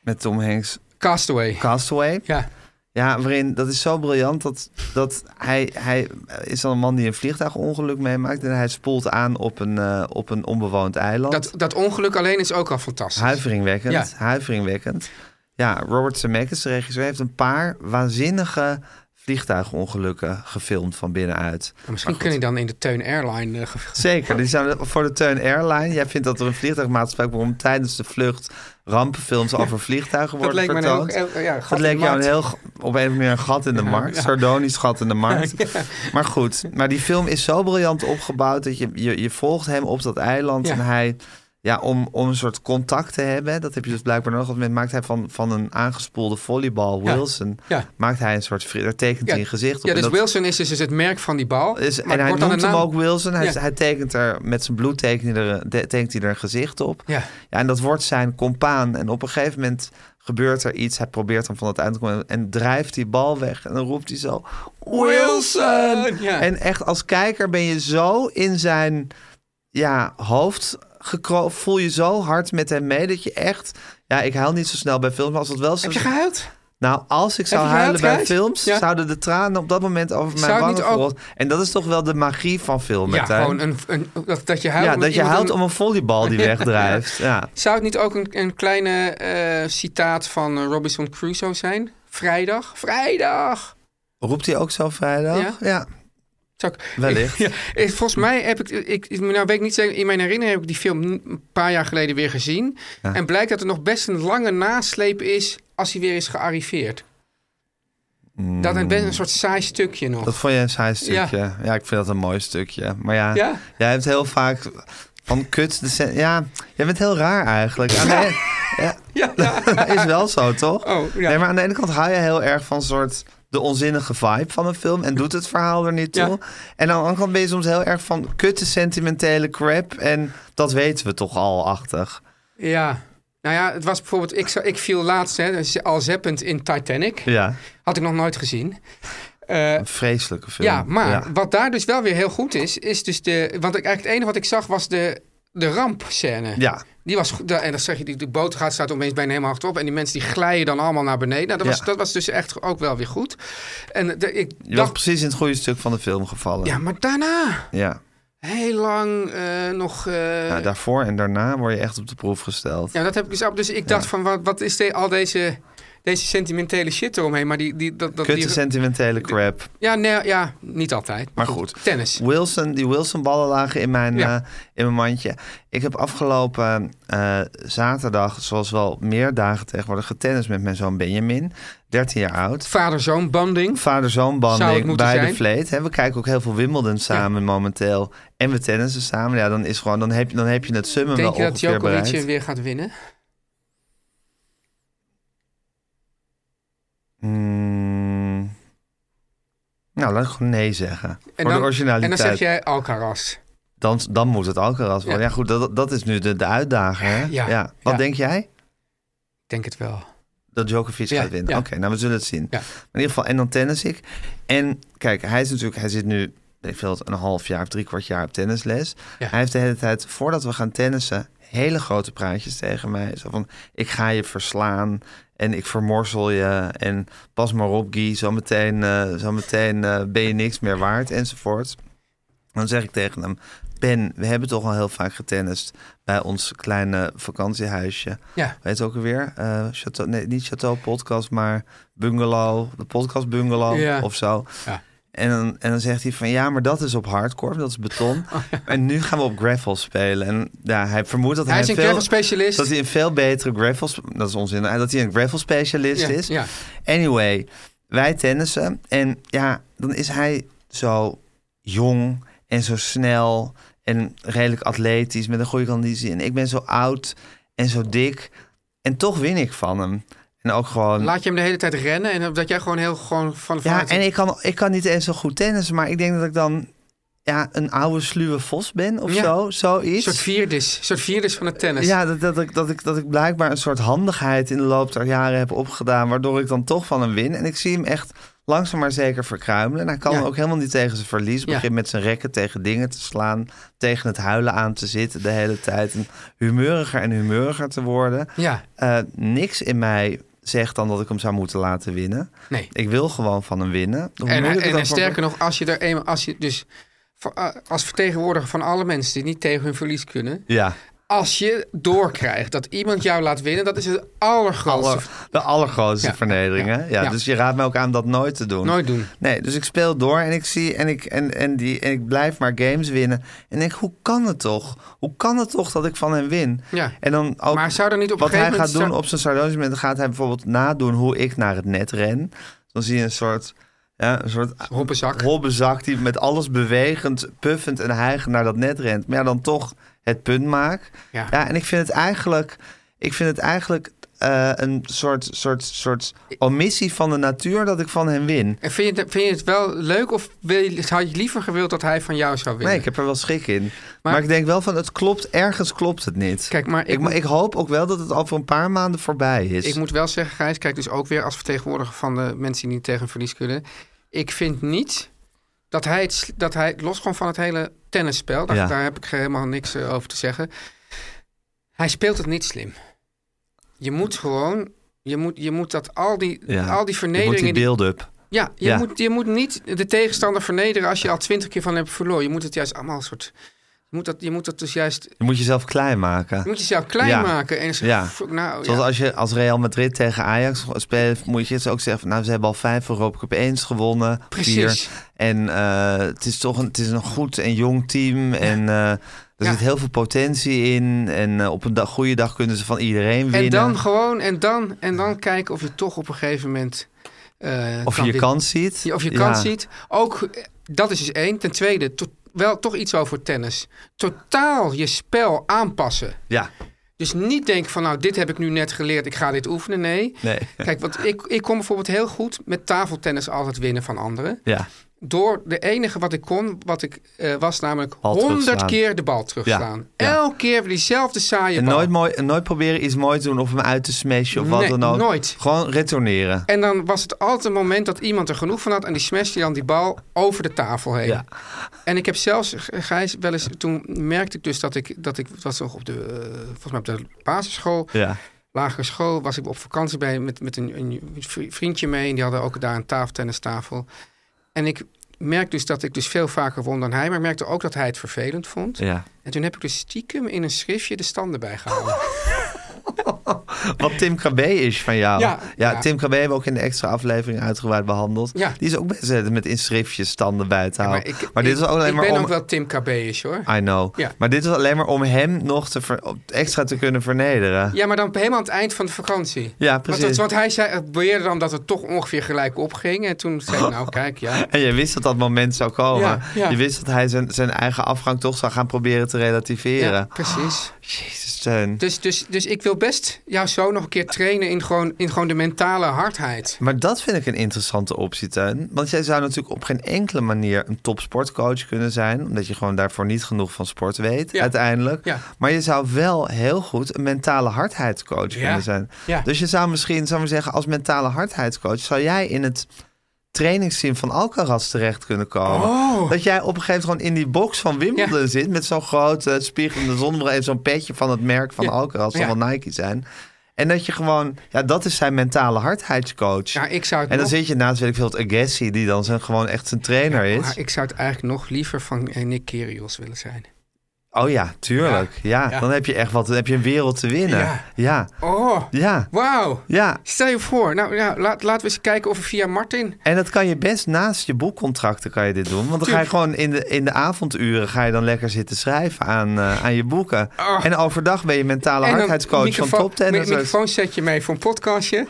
D: met Tom Hanks,
E: Castaway.
D: Castaway.
E: Ja,
D: Ja, waarin dat is zo briljant dat, dat hij, hij is dan een man die een vliegtuigongeluk meemaakt en hij spoelt aan op een, eh, op een onbewoond eiland.
E: Dat, dat ongeluk alleen is ook al fantastisch.
D: Huiveringwekkend,
E: Ja.
D: huiveringwekkend. Ja, Robert Zemeckis, de regisseur, heeft een paar waanzinnige vliegtuigongelukken gefilmd van binnenuit.
E: Maar misschien kun je dan in de Teun Airline... eh, ge-
D: Zeker, die zijn voor de Teun Airline. Jij vindt dat er een vliegtuigmaatschappij om tijdens de vlucht rampenfilms over vliegtuigen
E: dat
D: worden
E: leek me een heel,
D: vertoond.
E: heel- ja, gat
D: Dat
E: in de
D: leek jou een
E: markt.
D: heel, op een of andere manier een gat in de markt. Sardonisch gat in de markt. Maar goed, maar die film is zo briljant opgebouwd dat je, je, je volgt hem op dat eiland.
E: Ja.
D: En hij, ja, om, om een soort contact te hebben, dat heb je dus blijkbaar nodig. Op het moment maakt hij van, van een aangespoelde volleybal,
E: Ja.
D: Wilson,
E: Ja.
D: maakt hij een soort, fri- daar tekent hij een gezicht op.
E: Ja,
D: En
E: dus
D: dat-
E: Wilson is dus dus het merk van die bal.
D: is,
E: maar
D: en hij
E: wordt dan
D: noemt
E: een
D: hem
E: naam-
D: ook Wilson. Hij,
E: Ja.
D: hij tekent er met zijn bloed tekent hij er, de- tekent hij er een gezicht op.
E: Ja.
D: en dat wordt zijn compaan. En op een gegeven moment gebeurt er iets. Hij probeert hem van dat eind te komen en drijft die bal weg. En dan roept hij zo: Wilson!
E: Ja.
D: En echt als kijker ben je zo in zijn ja, hoofd gekroop. Voel je zo hard met hem mee dat je echt. Ja, ik huil niet zo snel bij films, maar als dat wel zo.
E: Heb je gehuild?
D: Nou, als ik zou
E: Heb je
D: huilen
E: gehuild,
D: bij
E: Gijs?
D: films,
E: Ja.
D: zouden de tranen op dat moment over
E: Zou
D: mijn
E: het
D: wangen
E: niet ook-
D: rollen. En dat is toch wel de magie van filmen.
E: Ja,
D: Tuin?
E: gewoon een, een, dat, dat je huilt.
D: ja,
E: omdat
D: dat je
E: iemand
D: houdt
E: een-
D: om een volleybal die wegdrijft. Ja.
E: Zou het niet ook een, een kleine eh, citaat van eh, Robinson Crusoe zijn? Vrijdag? Vrijdag!
D: Roept hij ook zo vrijdag?
E: Ja. Zou ik-
D: Wellicht.
E: Ja, eh, volgens mij heb ik, ik, ik- nou weet ik niet zeker, in mijn herinnering heb ik die film n- een paar jaar geleden weer gezien. En blijkt dat er nog best een lange nasleep is als hij weer is gearriveerd. Dat is best een soort saai stukje nog.
D: Dat vond je een saai stukje. Ja. ik vind dat een mooi stukje. Maar ja,
E: Ja?
D: jij hebt heel vaak van kut... De sen- ja, jij bent heel raar eigenlijk. Aan de en- ja.
E: Ja, ja.
D: Dat is wel zo, toch?
E: Oh, ja.
D: Nee, maar aan de ene kant hou je heel erg van soort de onzinnige vibe van een film en doet het verhaal er niet toe.
E: Ja.
D: En aan de andere kant ben je soms heel erg van kutte sentimentele crap en dat weten we toch al achtig.
E: Ja. Nou ja, het was bijvoorbeeld, ik, zou- ik viel laatst hè, dus al zeppend in Titanic.
D: Ja,
E: Had ik nog nooit gezien. Eh,
D: een vreselijke film.
E: ja, maar wat daar dus wel weer heel goed is, is dus de. Want ik, eigenlijk het enige wat ik zag was de, de rampscène.
D: Ja.
E: Die was goed. En dan zeg je, die, die boot gaat staat opeens bijna helemaal hardop. En die mensen die glijden dan allemaal naar beneden. Nou, dat,
D: Ja.
E: was, dat was dus echt ook wel weer goed. En de, ik
D: Je was
E: dacht.
D: precies in het goede stuk van de film gevallen.
E: Ja, maar daarna.
D: Ja.
E: Heel lang eh, nog. eh,
D: Ja, daarvoor en daarna word je echt op de proef gesteld.
E: Ja, dat heb ik dus ook. Dus ik dacht van, wat, wat is de- al deze, deze sentimentele shit eromheen? Maar die... die, dat, dat,
D: Kutte
E: die
D: sentimentele crap.
E: ja, nee, ja, niet altijd. Maar,
D: Maar
E: goed.
D: goed.
E: Tennis.
D: Wilson, die Wilson-ballen lagen in mijn,
E: Ja.
D: eh, in mijn mandje. Ik heb afgelopen eh, zaterdag, zoals wel meer dagen tegenwoordig, getennist met mijn zoon Benjamin, 13 jaar oud.
E: Vader-zoon banding.
D: Vader-zoon
E: Zou het
D: banding
E: moeten
D: bij de
E: zijn?
D: vleet. hè. We kijken ook heel veel Wimbledon samen momenteel. En we tennissen samen. Ja, dan, is gewoon, dan, heb, je- dan heb je het summum wel
E: Denk je dat
D: ongeveer
E: Djokovic
D: bereikt.
E: weer gaat winnen?
D: Hmm. Nou, laat ik gewoon nee zeggen.
E: En
D: Voor
E: dan,
D: de originaliteit.
E: en dan zeg jij Alcaraz.
D: dan, dan moet het Alcaraz worden. Ja,
E: Ja.
D: goed, dat, dat is nu de, de uitdaging. Hè?
E: Ja,
D: Wat
E: ja.
D: denk jij?
E: Ik denk het wel.
D: Dat Djokovic
E: Ja,
D: gaat winnen.
E: ja.
D: Oké, nou we zullen het zien.
E: Ja.
D: In ieder geval, en dan tennis ik. En kijk, hij is natuurlijk, hij zit nu, ik veel, een half jaar of drie kwart jaar op tennisles.
E: Ja.
D: Hij heeft de hele tijd, voordat we gaan tennissen, hele grote praatjes tegen mij. Zo van, ik ga je verslaan en ik vermorsel je en pas maar op Guy, zometeen eh, zometeen eh, ben je niks meer waard enzovoort. Dan zeg ik tegen hem, Ben, we hebben toch al heel vaak getennist bij ons kleine vakantiehuisje.
E: Ja.
D: Weet het ook alweer? Eh, Chateau, nee, niet Chateau Podcast, maar Bungalow, de podcast Bungalow
E: Ja.
D: of zo.
E: Ja.
D: En dan, en dan zegt hij van ja, maar dat is op hardcore, dat is beton.
E: Oh,
D: En nu gaan we op gravel spelen. En ja, hij vermoedt dat hij,
E: Hij is een
D: veel-
E: gravel-specialist.
D: Dat hij een veel betere gravel, dat is onzin, dat hij een gravel specialist
E: Ja,
D: is.
E: ja.
D: Anyway, wij tennissen. En ja, dan is hij zo jong en zo snel en redelijk atletisch met een goede conditie. En ik ben zo oud en zo dik. En toch win ik van hem. En ook gewoon...
E: Laat je hem de hele tijd rennen en dat jij gewoon heel gewoon van...
D: ja,
E: vanuit-
D: en ik kan, ik kan niet eens zo goed tennissen, maar ik denk dat ik dan ja, een oude sluwe vos ben of
E: Ja.
D: zo.
E: Een
D: Zoiets.
E: soort vierdis. Een soort vierdis van het tennis.
D: Ja, dat, dat, ik, dat, ik, dat ik blijkbaar een soort handigheid in de loop der jaren heb opgedaan. Waardoor ik dan toch van hem win. En ik zie hem echt langzaam maar zeker verkruimelen. En hij kan
E: Ja.
D: ook helemaal niet tegen zijn verlies.
E: Ja.
D: Begint met zijn rekken tegen dingen te slaan. Tegen het huilen aan te zitten de hele tijd. En humeuriger en humeuriger te worden.
E: Ja.
D: Eh, niks in mij zeg dan dat ik hem zou moeten laten winnen.
E: Nee.
D: Ik wil gewoon van hem winnen. Hoe
E: En,
D: moeilijk het
E: en,
D: ook
E: en
D: wordt-
E: sterker nog, als je er eenmaal, als je dus voor- eh, als vertegenwoordiger van alle mensen die niet tegen hun verlies kunnen,
D: Ja,
E: als je doorkrijgt dat iemand jou laat winnen, dat is het allergrootste.
D: aller- de allergrootste
E: Ja,
D: vernedering.
E: ja,
D: hè? Ja,
E: ja.
D: Dus je raadt me ook aan dat nooit te doen.
E: Nooit doen.
D: Nee, dus ik speel door en ik zie en ik, en, en die, en ik blijf maar games winnen. En ik denk, hoe kan het toch? Hoe kan het toch dat ik van hem win?
E: Ja.
D: En dan ook
E: Maar zou er niet op een
D: wat hij
E: gegeven
D: gaat
E: moment
D: doen
E: zou-
D: op zijn sardonische moment, gaat hij bijvoorbeeld nadoen hoe ik naar het net ren. Dan zie je een soort, ja, een soort
E: Hoppenzak.
D: hobbezak die met alles bewegend, puffend en hijgend naar dat net rent. Maar ja, dan toch het punt maak.
E: Ja.
D: en ik vind het eigenlijk, ik vind het eigenlijk eh, een soort, soort, soort omissie van de natuur dat ik van hem win.
E: En vind je, het, vind je het wel leuk of wil je, had je liever gewild dat hij van jou zou winnen?
D: Nee, ik heb er wel schrik in. Maar, ik denk wel van, het klopt, ergens klopt het niet.
E: Kijk, maar ik
D: ik,
E: moet-
D: ik hoop ook wel dat het al voor een paar maanden voorbij is.
E: Ik moet wel zeggen, Gijs, kijk dus ook weer als vertegenwoordiger van de mensen die niet tegen verlies kunnen. Ik vind niet dat hij, het, sl- dat hij los gewoon van het hele tennisspel, daar,
D: Ja.
E: daar heb ik helemaal niks eh, over te zeggen. Hij speelt het niet slim. Je moet gewoon, je moet, je moet dat al die,
D: Ja.
E: al die
D: Je moet
E: vernederingen.
D: die
E: die-
D: build-up.
E: ja, je,
D: ja.
E: Moet, je moet niet de tegenstander vernederen als je al twintig keer van hem hebt verloren. Je moet het juist allemaal een soort. Je moet, dat, je moet dat dus juist.
D: Je moet jezelf klein maken.
E: Je moet jezelf klein
D: Ja.
E: maken. En zo,
D: Ja.
E: f- nou,
D: Zoals
E: ja.
D: als je als Real Madrid tegen Ajax speelt, moet je het ook zeggen. van, Nou, ze hebben al vijf Europa Cup 1 gewonnen.
E: Precies.
D: Vier. En eh, het is toch een, het is een goed en jong team. En eh, er
E: Ja.
D: zit heel veel potentie in. En eh, op een dag, goede dag kunnen ze van iedereen winnen.
E: En dan gewoon, en dan, en dan kijken of je toch op een gegeven moment. eh,
D: of je je
E: winnen.
D: kans ziet.
E: Ja, Of je
D: Ja.
E: kans ziet. Ook, eh, dat is dus één. Ten tweede, to- wel toch iets over tennis. Totaal je spel aanpassen.
D: Ja,
E: Dus niet denken van, nou, dit heb ik nu net geleerd, ik ga dit oefenen. Nee.
D: nee.
E: Kijk, want ik, ik kon bijvoorbeeld heel goed met tafeltennis altijd winnen van anderen.
D: Ja,
E: Door de enige wat ik kon, wat ik, eh, was namelijk
D: Bal
E: honderd
D: terugslaan.
E: keer de bal terugslaan.
D: Ja, ja.
E: Elke keer weer diezelfde saaie
D: en
E: bal.
D: nooit, mooi, en nooit proberen iets moois te doen of hem uit te smashen of wat
E: Nee,
D: dan ook.
E: nooit.
D: Gewoon retourneren.
E: En dan was het altijd een moment dat iemand er genoeg van had. En die smashte dan die bal over de tafel heen.
D: Ja.
E: En ik heb zelfs, Gijs, wel eens. Toen merkte ik dus dat ik. Dat ik het was nog op de. eh, volgens mij op de basisschool.
D: Ja,
E: Lagere school. Was ik op vakantie bij. Met, met een, een vri- vriendje mee. En die hadden ook daar een tafeltennistafel. En ik merkte dus dat ik dus veel vaker won dan hij. Maar ik merkte ook dat hij het vervelend vond.
D: ja.
E: En toen heb ik dus stiekem in een schriftje de standen bijgehouden.
D: Wat Tim KB is van jou.
E: Ja,
D: Ja,
E: ja.
D: Tim KB hebben we ook in de extra aflevering uitgebreid behandeld.
E: Ja.
D: Die is ook bezig met in schriftjes standen bij te houden. maar
E: ik,
D: dit is ook alleen
E: ik
D: maar
E: ben
D: om...
E: ook wel Tim KB'ers hoor.
D: I know.
E: Ja.
D: Maar dit was alleen maar om hem nog te ver- op- extra te kunnen vernederen.
E: Ja, maar dan helemaal aan het eind van de vakantie.
D: Ja,
E: Want,
D: precies.
E: dat- want hij zei, beweerde dan dat het toch ongeveer gelijk opging. En toen zei ik, nou kijk, ja.
D: En je wist dat dat moment zou komen.
E: Ja, ja.
D: Je wist dat hij zijn, zijn eigen afgang toch zou gaan proberen te relativeren.
E: ja precies.
D: Jezus, steun.
E: Dus, dus, dus ik wil best jou zo nog een keer trainen in gewoon, in gewoon de mentale hardheid.
D: Maar dat vind ik een interessante optie, Teun. Want jij zou natuurlijk op geen enkele manier een topsportcoach kunnen zijn. Omdat je gewoon daarvoor niet genoeg van sport weet,
E: Ja.
D: uiteindelijk.
E: Ja.
D: Maar je zou wel heel goed een mentale hardheidscoach kunnen zijn.
E: Ja.
D: Dus je zou misschien, zou maar zeggen, als mentale hardheidscoach... zou jij in het trainingsteam van Alcaraz terecht kunnen komen. Oh.
E: Oh,
D: Dat jij op een gegeven moment gewoon in die box van Wimbledon
E: Ja.
D: zit... met zo'n grote eh, spiegelende zonnebril en zo'n petje van het merk van
E: Ja.
D: Alcaraz... zal
E: Ja.
D: wel Nike zijn... En dat je gewoon, ja, dat is zijn mentale hardheidscoach.
E: Ja, ik zou het
D: En dan
E: nog-
D: zit je naast, weet ik veel, het Agassi, die dan zijn, gewoon echt zijn trainer
E: Maar
D: is.
E: ik zou het eigenlijk nog liever van eh, Nick Kyrgios willen zijn.
D: Oh ja, tuurlijk. Ja,
E: Ja.
D: dan heb je echt wat, dan heb je een wereld te winnen.
E: Ja.
D: Ja, ja,
E: Oh,
D: ja.
E: wauw. Stel je voor, nou ja, laat, laten we eens kijken of we via Martin...
D: En dat kan je best naast je boekcontracten kan je dit doen. Want dan ga je
E: Tuurlijk.
D: gewoon in de, in de avonduren ga je dan lekker zitten schrijven aan, eh, aan je boeken.
E: Ah.
D: En overdag ben je mentale
E: en dan
D: hardheidscoach van dus.
E: microfoon- mi-
D: toptennissers.
E: microfoonsetje mee voor een podcastje.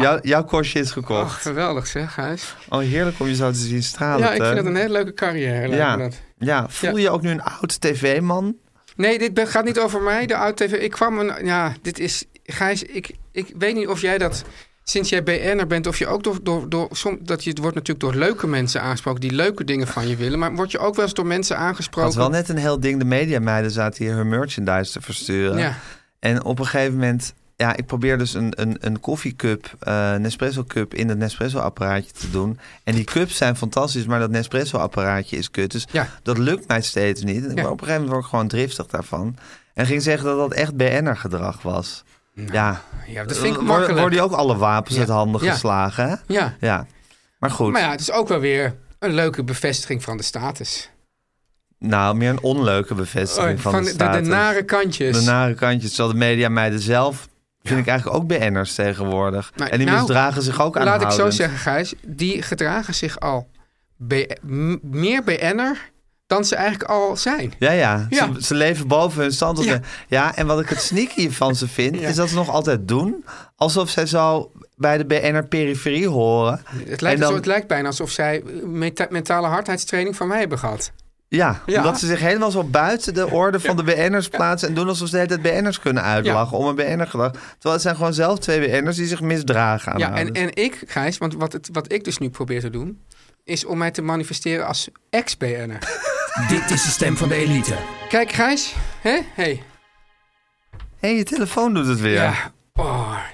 D: Jouw, jouw korstje is
E: Oh,
D: gekocht.
E: geweldig zeg, Gijs.
D: Oh, heerlijk om je zo te zien stralen.
E: Ja, ik
D: Teun.
E: vind dat een hele leuke carrière. lijkt me
D: ja.
E: dat.
D: ja, voel
E: Ja.
D: je ook nu een oud tv-man?
E: Nee, dit be- gaat niet over mij, de oud-tv. Ik kwam een... Ja, dit is... Gijs, ik, ik weet niet of jij dat... Sinds jij BN'er bent, of je ook door... door, door som, dat je het wordt natuurlijk door leuke mensen aangesproken... die leuke dingen van je willen. Maar word je ook wel eens door mensen
D: Dat
E: aangesproken...
D: was wel net een heel ding. De mediameiden zaten hier hun merchandise te versturen.
E: Ja.
D: En op een gegeven moment... Ja, ik probeer dus een, een, een koffiecup, eh Nespresso cup in het Nespresso apparaatje te doen. En die cups zijn fantastisch, maar dat Nespresso apparaatje is kut. Dus
E: Ja.
D: dat lukt mij steeds niet. En ik
E: Ja.
D: word op een gegeven moment word ik gewoon driftig daarvan. En ging zeggen dat dat echt BN'er gedrag was. ja.
E: Ja, dat vind ik
D: Worden,
E: makkelijk.
D: worden die ook alle wapens uit handen
E: Ja.
D: geslagen? Hè?
E: Ja.
D: ja. Maar goed,
E: Maar ja, het is ook wel weer een leuke bevestiging van de status.
D: nou, meer een onleuke bevestiging
E: Oh,
D: van, de
E: de, de,
D: status.
E: nare kantjes.
D: De nare kantjes, terwijl de media meiden zelf... vind ik eigenlijk ook BN'ers tegenwoordig.
E: Nou,
D: en die
E: nou,
D: misdragen zich ook aan
E: Laat ik zo zeggen, Gijs. Die gedragen zich al B- m- meer BN'er dan ze eigenlijk al zijn.
D: Ja, ja.
E: Ja.
D: Ze, ze leven boven hun stand. Ja.
E: Ja.
D: ja, en wat ik het sneaky van ze vind, is dat ze nog altijd doen alsof zij zo bij de BNR-periferie horen.
E: Het
D: En
E: lijkt,
D: dan-
E: zo, het lijkt bijna alsof zij meta- mentale hardheidstraining van mij hebben gehad.
D: Ja,
E: Ja.
D: omdat ze zich helemaal zo buiten de orde van de BN'ers plaatsen... en doen alsof ze de hele tijd BN'ers kunnen uitlachen om een BN'er gedrag. Terwijl het zijn gewoon zelf twee BN'ers die zich misdragen aan
E: Ja, en,
D: alles.
E: en ik, Gijs, want wat, het, wat ik dus nu probeer te doen, is om mij te manifesteren als ex-BN'er.
F: Dit is de stem van de elite.
E: Kijk, Gijs, hè? Hey.
D: Hé, je telefoon doet het weer.
E: Oh, ja.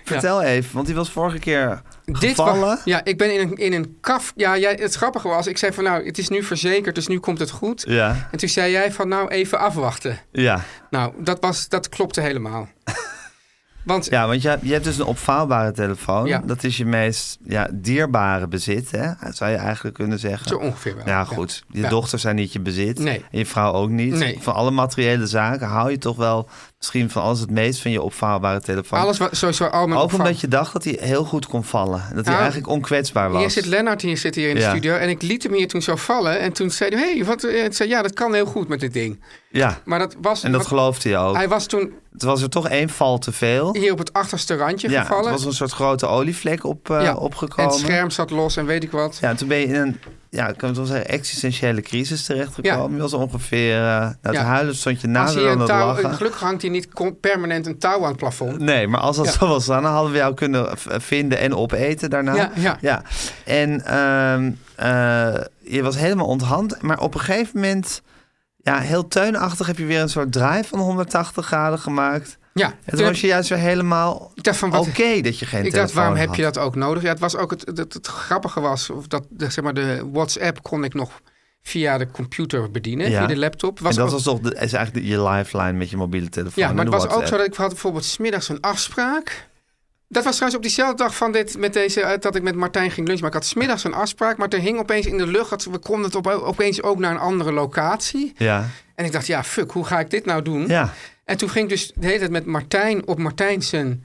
D: Vertel even, want die was vorige keer
E: Dit wa-
D: gevallen.
E: ja, ik ben in een, in een kaf. Ja, jij, het grappige was, ik zei van nou, het is nu verzekerd, dus nu komt het goed.
D: Ja,
E: En toen zei jij van nou, even afwachten.
D: ja.
E: Nou, dat, was, dat klopte helemaal. Want
D: Ja, want je, je hebt dus een opvouwbare telefoon.
E: Ja.
D: Dat is je meest ja, dierbare bezit, hè? zou je eigenlijk kunnen zeggen.
E: zo ongeveer wel.
D: ja, goed. Je
E: Ja.
D: dochters zijn niet je bezit.
E: Nee.
D: En je vrouw ook niet.
E: Nee.
D: Van alle materiële zaken hou je toch wel misschien van alles het meest van je opvouwbare telefoon.
E: Alles wat sowieso al mijn
D: ook
E: opvang-
D: omdat je dacht dat hij heel goed kon vallen. Dat hij
E: Nou,
D: eigenlijk onkwetsbaar was.
E: Hier zit Lennart hier, zit hier in de
D: Ja.
E: studio. En ik liet hem hier toen zo vallen. En toen zei hij, hey, wat? eh, Ik zei, ja, dat kan heel goed met dit ding.
D: ja,
E: Maar dat was...
D: en dat
E: wat-
D: geloofde je ook.
E: Hij was toen
D: Het was er toch één val te veel.
E: hier op het achterste randje
D: Ja, het
E: gevallen.
D: was een soort grote olievlek op, eh,
E: Ja, En
D: opgekomen.
E: het scherm zat los en weet ik wat.
D: Ja, toen ben je in een, ja, ik kan het wel zeggen, existentiële crisis terechtgekomen.
E: Ja.
D: Je was ongeveer, eh nou, het
E: Ja.
D: huilen stond je
E: Als
D: nader
E: hier
D: dan
E: een
D: het
E: touw,
D: lachen. Nou,
E: gelukkig hangt hij niet con- permanent een touw aan het plafond.
D: Nee, maar als dat
E: Ja.
D: zo was, dan hadden we jou kunnen v- vinden en opeten daarna.
E: Ja, ja.
D: En ehm, eh, je was helemaal onthand, maar op een gegeven moment, ja, heel teunachtig heb je weer een soort draai van 180 graden gemaakt.
E: Ja,
D: En
E: toen
D: toen was je juist weer helemaal
E: ik dacht van
D: oké
E: wat...
D: dat je geen
E: Ik dacht,
D: telefoon
E: waarom
D: had.
E: heb je dat ook nodig? Ja, het was ook het, het, het grappige was, of dat, de, zeg maar, de WhatsApp kon ik nog via de computer bedienen,
D: Ja.
E: via de laptop. Was
D: en dat
E: ook-
D: was toch de, is eigenlijk de- je lifeline met je mobiele telefoon.
E: Ja, maar
D: en
E: het
D: de
E: was ook zo
D: WhatsApp.
E: dat ik had bijvoorbeeld smiddags een afspraak. Dat was trouwens op diezelfde dag van dit, met deze, eh, dat ik met Martijn ging lunchen. Maar ik had smiddags een afspraak, maar er hing opeens in de lucht, dat, we konden het op, opeens ook naar een andere locatie.
D: Ja,
E: En ik dacht, ja, fuck, hoe ga ik dit nou doen?
D: ja,
E: En toen ging ik dus de hele tijd met Martijn op Martijn zijn...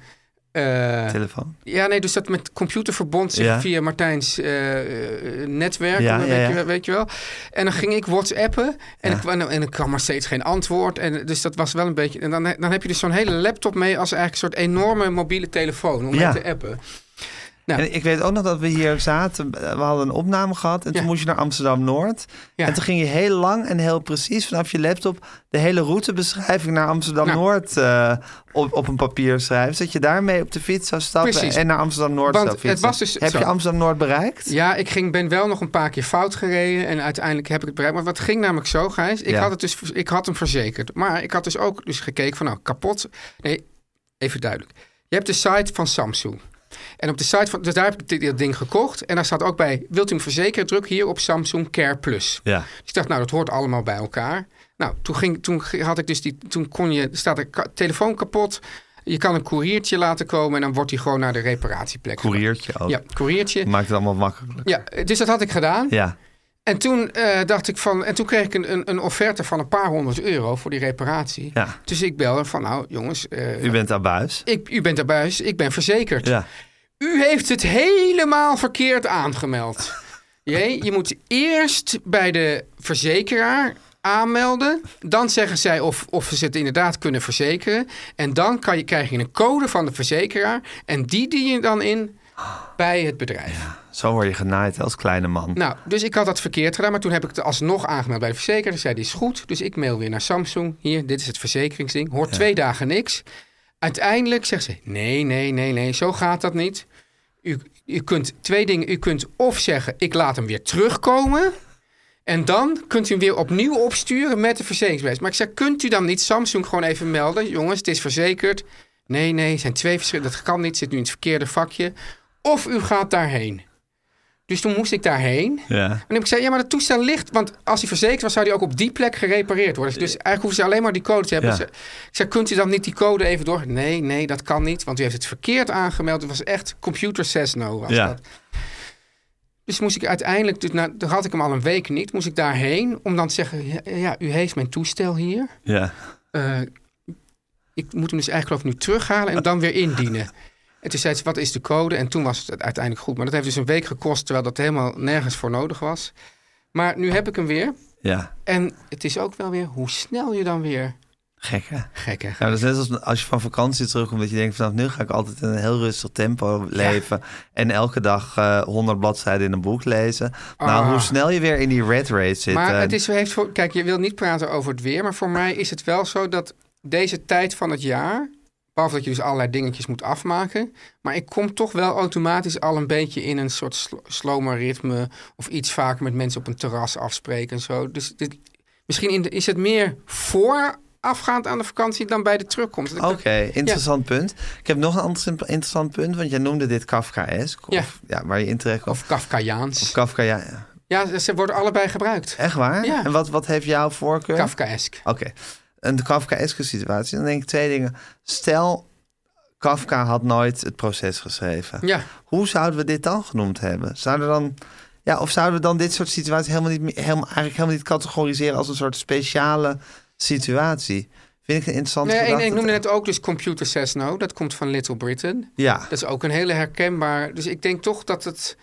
E: eh,
D: telefoon.
E: ja, nee, dus dat met computer verbond zich
D: Ja.
E: via Martijn's eh, eh, netwerk,
D: Ja,
E: weet,
D: ja, ja.
E: Je, weet je wel. En dan ging ik whatsappen en, ik, en, en er kwam maar steeds geen antwoord. En, dus dat was wel een beetje... En dan, dan heb je dus zo'n hele laptop mee als eigenlijk een soort enorme mobiele telefoon om
D: Ja.
E: mee te appen. Ja.
D: En ik weet ook nog dat we hier zaten. We hadden een opname gehad. En toen
E: Ja.
D: moest je naar Amsterdam-Noord.
E: Ja.
D: En toen ging je heel lang en heel precies vanaf je laptop... de hele routebeschrijving naar
E: Nou.
D: Amsterdam-Noord eh, op, op een papier schrijven. Zodat je daarmee op de fiets zou stappen
E: Precies.
D: en naar Amsterdam-Noord
E: Want
D: zou
E: het
D: fietsen.
E: was dus
D: Heb
E: zo.
D: je Amsterdam-Noord bereikt?
E: Ja, ik ging, ben wel nog een paar keer fout gereden en uiteindelijk heb ik het bereikt. Maar wat ging namelijk zo, Gijs? Ik,
D: Ja.
E: had het dus, ik had hem verzekerd. Maar ik had dus ook dus gekeken van, nou, kapot. Nee, even duidelijk. Je hebt de site van Samsung. En op de site van, dus daar heb ik dit, dit ding gekocht. En daar staat ook bij, wilt u hem verzekeren? Druk hier op Samsung Care Plus.
D: Ja.
E: Dus ik dacht, nou, dat hoort allemaal bij elkaar. Nou, toen, ging, toen ge- had ik dus die, toen kon je, staat de ka- telefoon kapot. Je kan een koeriertje laten komen en dan wordt die gewoon naar de reparatieplek.
D: Couriertje ook.
E: Ja, koeriertje.
D: Maakt het allemaal makkelijk.
E: Ja, dus dat had ik gedaan.
D: Ja.
E: En toen eh, dacht ik van, en toen kreeg ik een, een, een offerte van een paar honderd euro voor die reparatie.
D: Ja.
E: Dus ik bel hem van, nou jongens, eh,
D: U bent abuis.
E: ik, u bent erbij, dus ik ben verzekerd.
D: Ja.
E: U heeft het helemaal verkeerd aangemeld. Jee, je moet eerst bij de verzekeraar aanmelden. Dan zeggen zij of, of ze het inderdaad kunnen verzekeren. En dan kan je, krijg je een code van de verzekeraar. En die dien je dan in
D: Ah.
E: bij het bedrijf.
D: Zo word je genaaid als kleine man.
E: Nou, dus ik had dat verkeerd gedaan, maar toen heb ik het alsnog aangemeld bij de verzekeraar. Ze zei, dit is goed. Dus ik mail weer naar Samsung. Hier, dit is het verzekeringsding. Hoort twee dagen niks. Uiteindelijk zegt ze, nee, nee, nee, nee, zo gaat dat niet. U, u kunt twee dingen. U kunt of zeggen, ik laat hem weer terugkomen. En dan kunt u hem weer opnieuw opsturen met de verzekeringsbewijs. Maar ik zei, kunt u dan niet Samsung gewoon even melden? Jongens, het is verzekerd. Nee, nee, het zijn twee verschillende. Dat kan niet, zit nu in het verkeerde vakje. Of u gaat daarheen. Dus toen moest ik daarheen.
D: Ja.
E: En dan heb ik gezegd, ja, maar dat toestel ligt... Want als hij verzekerd was, zou die ook op die plek gerepareerd worden. Dus eigenlijk hoeven ze alleen maar die code te hebben.
D: Ja.
E: Ze- ik zei, kunt u dan niet die code even door? Nee, nee, dat kan niet. Want u heeft het verkeerd aangemeld. Het was echt computer Cessno was
D: Ja.
E: dat. Dus moest ik uiteindelijk... Dus nou, dan had ik hem al een week niet. Moest ik daarheen om dan te zeggen... Ja, ja, u heeft mijn toestel hier.
D: Ja.
E: Eh, ik moet hem dus eigenlijk geloof ik nu terughalen en dan weer indienen. En toen zei ze, wat is de code? En toen was het uiteindelijk goed. Maar dat heeft dus een week gekost, terwijl dat helemaal nergens voor nodig was. Maar nu heb ik hem weer.
D: Ja.
E: En het is ook wel weer hoe snel je dan weer...
D: Gek hè?
E: Gekke.
D: Ja, dat is net als als je van vakantie terugkomt, dat je denkt vanaf nu ga ik altijd in een heel rustig tempo leven. En elke dag eh 100 bladzijden in een boek lezen. Nou,
E: Ah.
D: hoe snel je weer in die red race zit.
E: Maar
D: eh,
E: het is, heeft voor, kijk, je wil niet praten over het weer. Maar voor mij is het wel zo dat deze tijd van het jaar. Behalve dat je dus allerlei dingetjes moet afmaken. Maar ik kom toch wel automatisch al een beetje in een soort slo slomer ritme. Of iets vaker met mensen op een terras afspreken en zo. Dus dit, misschien in de- is het meer voorafgaand aan de vakantie dan bij de terugkomst. Dat ik
D: Oké,
E: dat-
D: interessant punt. Ik heb nog een ander sim- interessant punt, want jij noemde dit Kafkaesk.
E: Ja.
D: Of, ja, waar je in terecht komt.
E: Of Kafkaïaans.
D: Kafka, ja.
E: ja, ze worden allebei gebruikt.
D: Echt waar?
E: Ja.
D: En wat, wat heeft jouw voorkeur?
E: Kafkaesk.
D: Oké. Een Kafkaeske situatie. Dan denk ik twee dingen. Stel, Kafka had nooit het proces geschreven.
E: Ja.
D: Hoe zouden we dit dan genoemd hebben? Zouden we dan... Ja, of zouden we dan dit soort situaties helemaal niet, meer- helemaal, eigenlijk helemaal niet categoriseren als een soort speciale situatie? Vind ik een interessante
E: Nee, en,
D: gedachte.
E: en ik noemde net ook dus Computer Says No. Dat komt van Little Britain.
D: Ja,
E: Dat is ook een hele herkenbaar. Dus ik denk toch dat het.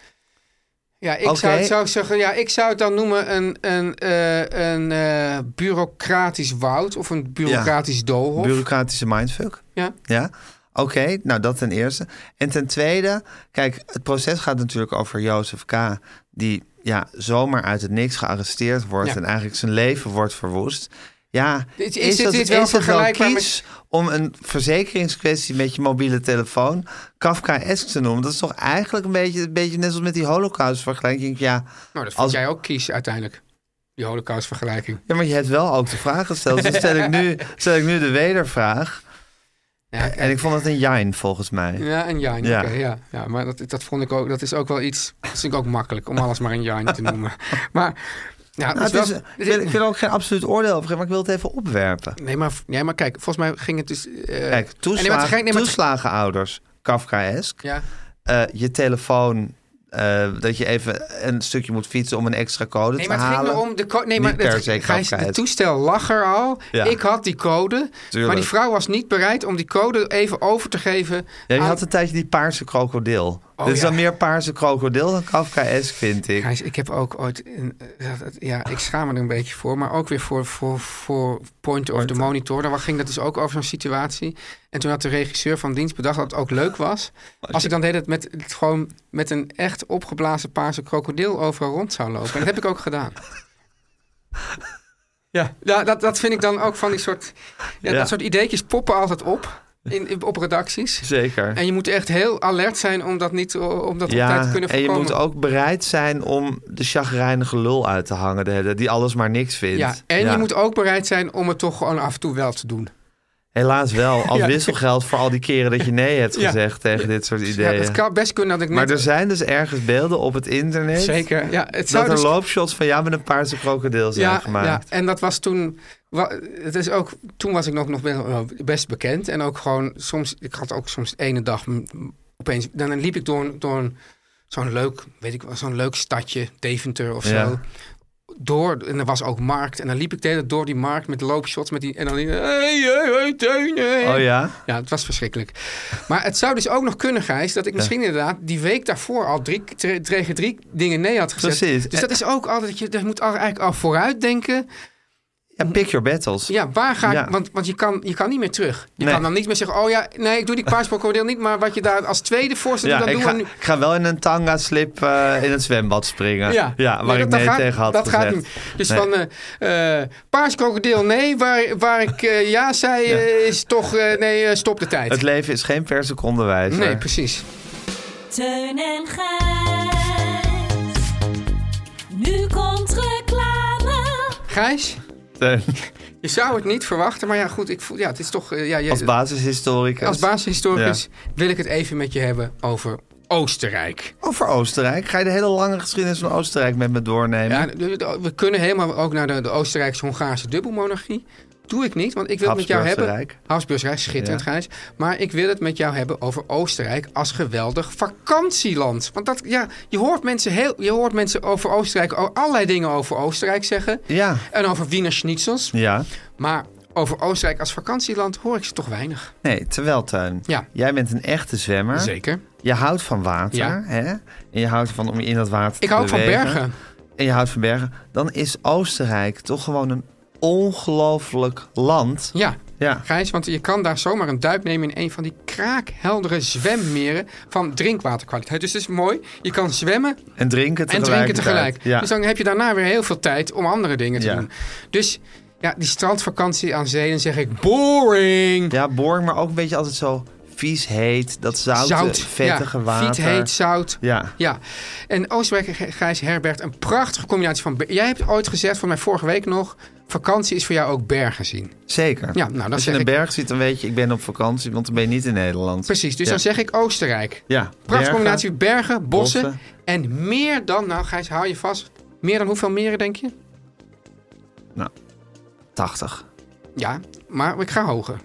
E: Ja, ik
D: Oké.
E: zou het zou zeggen. Ja, ik zou het dan noemen een, een, eh, een eh, bureaucratisch woud of een bureaucratisch doolhof.
D: bureaucratische mindfuck.
E: ja.
D: Ja? Oké, nou dat ten eerste. En ten tweede, kijk, het proces gaat natuurlijk over Jozef K. Die ja, zomaar uit het niks gearresteerd wordt
E: Ja.
D: en eigenlijk zijn leven wordt verwoest. Ja,
E: Dit- is dit- dit wel
D: is het
E: vergelijkbaar met-
D: kies om een verzekeringskwestie met je mobiele telefoon Kafka-esque te noemen? Dat is toch eigenlijk een beetje, een beetje net als met die holocaust-vergelijking. Ja,
E: Nou, dat vond
D: Als-
E: jij ook kies uiteindelijk. Die holocaustvergelijking.
D: ja, maar je hebt wel ook de vraag gesteld. Dus stel ik nu, stel ik nu de wedervraag.
E: Ja, eh,
D: En ik vond het een jijn volgens mij.
E: Ja, en Jijn.
D: Ja.
E: Ja, ja. ja maar dat, dat vond ik ook. Dat is ook wel iets. Dat vind ik ook makkelijk om alles maar een Jijn te noemen. Maar. Ja,
D: Nou,
E: het is wel-
D: het is, ik, wil, ik wil er ook geen absoluut oordeel over geven, maar ik wil het even opwerpen.
E: Nee maar, nee, maar kijk, volgens mij ging het dus. eh,
D: Kijk,
E: nee, maar het
D: toeslagen,
E: ging- nee, maar het-
D: toeslagenouders, Kafkaesk.
E: ja.
D: Eh, je telefoon, eh, dat je even een stukje moet fietsen om een extra code
E: Nee,
D: te
E: maar het
D: halen.
E: ging me om de code. Nee,
D: Niet
E: maar
D: per
E: het,
D: se
E: Gijs,
D: Kafka.
E: het toestel lag er al.
D: Ja.
E: Ik had die code.
D: Tuurlijk.
E: Maar die vrouw was niet bereid om die code even over te geven.
D: Ja, je
E: aan-
D: had een tijdje die paarse krokodil.
E: Oh,
D: Dit is
E: ja.
D: dan meer paarse krokodil dan Kafkaesk, vind ik.
E: Gijs, ik heb ook ooit. een- ja, dat- ja, ik schaam me er een beetje voor. Maar ook weer voor, voor, voor Point of the Monitor. Daar ging dat dus ook over zo'n situatie. En toen had de regisseur van dienst bedacht dat het ook leuk was. Als ik dan deed het met, gewoon met een echt opgeblazen paarse krokodil overal rond zou lopen. En dat heb ik ook gedaan. Ja, ja dat, dat vind ik dan ook van die soort. Ja,
D: Ja.
E: Dat soort ideetjes poppen altijd op. In, in- op redacties.
D: Zeker.
E: En je moet echt heel alert zijn om dat niet om dat op tijd te
D: ja,
E: kunnen
D: en je
E: voorkomen.
D: moet ook bereid zijn om de chagrijnige lul uit te hangen, de hele- die alles maar niks vindt.
E: Ja, en je moet ook bereid zijn om het toch gewoon af en toe wel te doen.
D: Helaas wel, als
E: Ja.
D: wisselgeld voor al die keren dat je nee hebt
E: Ja.
D: gezegd tegen dit soort
E: Ja,
D: ideeën.
E: het kan best kunnen dat ik
D: Maar
E: net...
D: er zijn dus ergens beelden op het internet.
E: Zeker, ja. Het
D: Dat
E: zou
D: er
E: dus-
D: loopshots van jou met een paarse krokodil zijn
E: ja, ja,
D: gemaakt.
E: en dat was toen... wa- Het is ook, toen was ik nog, nog best- best bekend. En ook gewoon soms... Ik had ook soms de ene dag m- m- opeens... Dan dan liep ik door, een- door een- zo'n leuk, weet ik wel, zo'n leuk stadje. Deventer of zo.
D: Ja.
E: Door, en er was ook markt. En dan liep ik de hele tijd door die markt met loopshots. Met die, en dan... Hey, hey, hey, Teun, hey.
D: Oh ja?
E: Ja, het was verschrikkelijk. Maar het zou dus ook nog kunnen, Gijs, dat ik misschien inderdaad die week daarvoor al drie, tre- tegen drie dingen nee had gezet.
D: Precies.
E: Dus dat is ook altijd, dat je, dat je moet al- eigenlijk al vooruit denken.
D: Ja, pick your battles.
E: Ja, waar ga ik,
D: Ja.
E: want, want je kan, je kan niet meer terug. Je
D: Nee.
E: kan dan niet meer zeggen, oh ja, nee, ik doe die paarsporkordeel niet, maar wat je daar als tweede voor zet,
D: Ja,
E: dat
D: ik,
E: doen
D: ga,
E: we nu.
D: ik ga wel in een tanga-slip eh, in het zwembad springen. Ja, waar
E: Nee,
D: ik
E: dat-
D: nee
E: dat gaat-
D: tegen had
E: Dat
D: gezegd.
E: gaat niet. Dus
D: Nee.
E: van eh eh paars krokodil, nee. Waar, waar ik eh, ja zei, eh, is toch, eh, nee, eh, stop de tijd.
D: Het leven is geen per seconde wijzer.
E: nee, precies.
G: Teun en Gijs. Nu komt reclame.
E: Gijs?
D: Teun,
E: Je zou het niet verwachten, maar ja, goed, ik voel, ja, het is toch. eh, Ja, je-
D: Als basishistoricus.
E: als basishistoricus
D: Ja.
E: wil ik het even met je hebben over Oostenrijk.
D: Over Oostenrijk. Ga je de hele lange geschiedenis van Oostenrijk met me doornemen?
E: Ja, de- de- we kunnen helemaal ook naar de, de Oostenrijkse-Hongaarse dubbelmonarchie. Doe ik niet, want ik wil het met jou hebben.
D: Habsburgs-Rijk.
E: Habsburgsrijk, schitterend
D: Ja.
E: Gijs. Maar ik wil het met jou hebben over Oostenrijk als geweldig vakantieland. Want dat, ja, je, hoort mensen heel, je hoort mensen over Oostenrijk o- allerlei dingen over Oostenrijk zeggen.
D: Ja.
E: En over Wiener Schnitzels.
D: Ja.
E: Maar over Oostenrijk als vakantieland hoor ik ze toch weinig.
D: Nee, terwijl Tuin.
E: Ja.
D: Jij bent een echte zwemmer.
E: Zeker.
D: Je houdt van water,
E: Ja.
D: hè? En je houdt van om je in dat water
E: Ik
D: te
E: hou ook van
D: bewegen.
E: bergen.
D: En je houdt van bergen. Dan is Oostenrijk toch gewoon een ongelooflijk land.
E: Ja.
D: Ja.
E: Gijs, want je kan daar zomaar een duik nemen in een van die kraakheldere zwemmeren van drinkwaterkwaliteit. Dus dat is mooi. Je kan zwemmen
D: En drinken
E: en
D: tegelijk.
E: drinken tegelijk.
D: Ja.
E: Dus dan heb je daarna weer heel veel tijd om andere dingen te
D: Ja.
E: doen. Dus ja, die strandvakantie aan zee, dan zeg ik boring.
D: ja, boring, maar ook een beetje altijd zo vies heet. Dat zoute,
E: Zout,
D: eh, vettige
E: ja,
D: water.
E: Fiet heet, zout.
D: Ja.
E: Ja, en Oostenrijk, Gijs Herbert, een prachtige combinatie van... ber- Jij hebt ooit gezegd, van mij vorige week nog... vakantie is voor jou ook bergen zien.
D: Zeker.
E: Ja, nou,
D: Als
E: dan
D: je
E: zeg
D: een
E: ik-
D: berg ziet, dan weet je, ik ben op vakantie, want dan ben je niet in Nederland.
E: Precies, dus
D: Ja.
E: dan zeg ik Oostenrijk.
D: Ja.
E: Prachtige
D: bergen.
E: combinatie bergen, bossen,
D: bossen.
E: en meer dan... Nou, Gijs, hou je vast. Meer dan hoeveel meren, denk je?
D: 80,
E: Ja, maar ik ga hoger.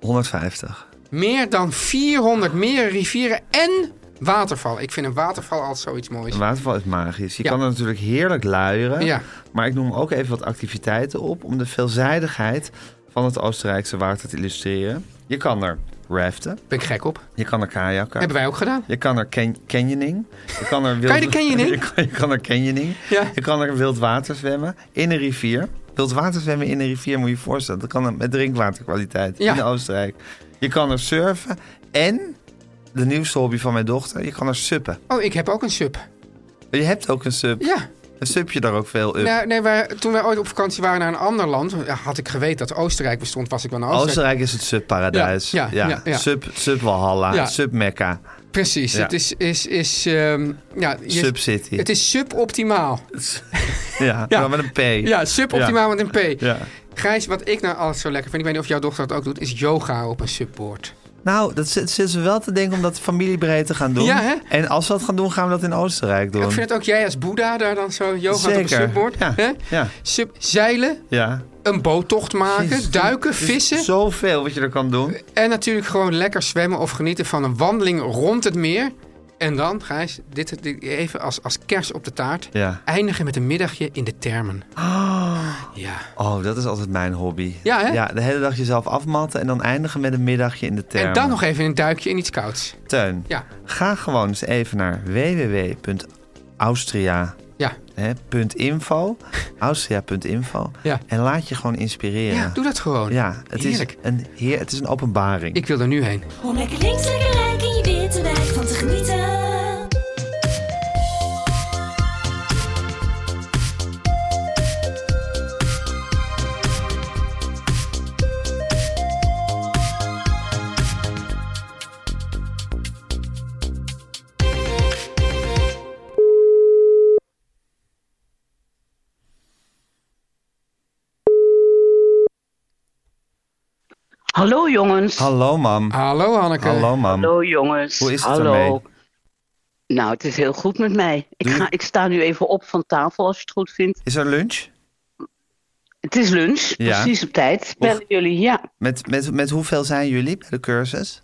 D: 150.
E: Meer dan 400 meren, rivieren en watervallen. Ik vind een waterval altijd zoiets moois.
D: Een waterval is magisch. Je
E: Ja.
D: kan er natuurlijk heerlijk luieren.
E: Ja.
D: Maar ik noem ook even wat activiteiten op om de veelzijdigheid van het Oostenrijkse water te illustreren. Je kan er raften,
E: Ben ik gek op.
D: je kan er kajakken.
E: Hebben wij ook gedaan.
D: Je kan er ken- canyoning. Je kan er wild...
E: Kan je de canyoning?
D: je, kan, je kan er canyoning.
E: Ja.
D: Je kan er wild water zwemmen in een rivier. Wild water zwemmen in een rivier moet je je voorstellen. Dat kan met drinkwaterkwaliteit
E: Ja.
D: in Oostenrijk. Je kan er surfen en de nieuwste hobby van mijn dochter. Je kan er suppen.
E: Oh, ik heb ook een sub.
D: Je hebt ook een sup.
E: Ja.
D: Een supje daar ook veel up.
E: Nou, nee, wij- toen wij ooit op vakantie waren naar een ander land, ja, had ik geweten dat Oostenrijk bestond, was ik wel naar Oostenrijk.
D: Oostenrijk is het subparadijs.
E: Ja, ja, ja, ja.
D: Sub, sub Walhalla,
E: Ja.
D: sub Mekka,
E: Precies.
D: Ja.
E: Het is, is, is ehm, ja, je-
D: sub City.
E: Het is suboptimaal.
D: Ja,
E: Ja.
D: maar met een P.
E: Ja, suboptimaal met een P.
D: Ja.
E: Gijs, wat ik nou altijd zo lekker vind, ik weet niet of jouw dochter dat ook doet, is yoga op een subboard.
D: Nou, dat zit, zit ze wel te denken om dat familiebreed te gaan doen.
E: Ja, hè?
D: En als we dat gaan doen, gaan we dat in Oostenrijk doen.
E: Ik vind het ook jij als Boeddha daar dan zo yoga op een
D: Zeker.
E: subboard.
D: Ja,
E: hè?
D: ja.
E: Sub, zeilen,
D: Ja.
E: een boottocht maken,
D: Jezus,
E: duiken,
D: er is
E: vissen.
D: Zoveel wat je er kan doen.
E: En natuurlijk gewoon lekker zwemmen of genieten van een wandeling rond het meer. En dan, Gijs, dit, dit even als, als kers op de taart.
D: Ja.
E: Eindigen met een middagje in de termen. Ja.
D: Oh, dat is altijd mijn hobby.
E: Ja, hè?
D: Ja, de hele dag jezelf afmatten en dan eindigen met een middagje in de term.
E: En dan nog even een duikje in iets kouds.
D: Teun,
E: Ja.
D: ga gewoon eens even naar www.austria.info.
E: Ja.
D: Austria.info.
E: Ja.
D: En laat je gewoon inspireren.
E: Ja, doe dat gewoon.
D: Ja, het, is
E: Heerlijk.
D: een, heer, het is een openbaring.
E: Ik wil er nu heen.
G: Om lekker links, lekker rechts in je witte wijk van te genieten.
H: Hallo jongens.
D: Hallo, mam.
E: Hallo Hanneke.
D: Hallo, mam.
H: Hallo, jongens.
D: Hoe is het
H: Hallo.
D: ermee?
H: Nou, het is heel goed met mij. Ik, ga, ik sta nu even op van tafel als je het goed vindt.
D: Is er lunch?
H: Het is lunch,
D: Ja.
H: precies op tijd. Bellen jullie, ja,
D: Met, met, met hoeveel zijn jullie bij de cursus?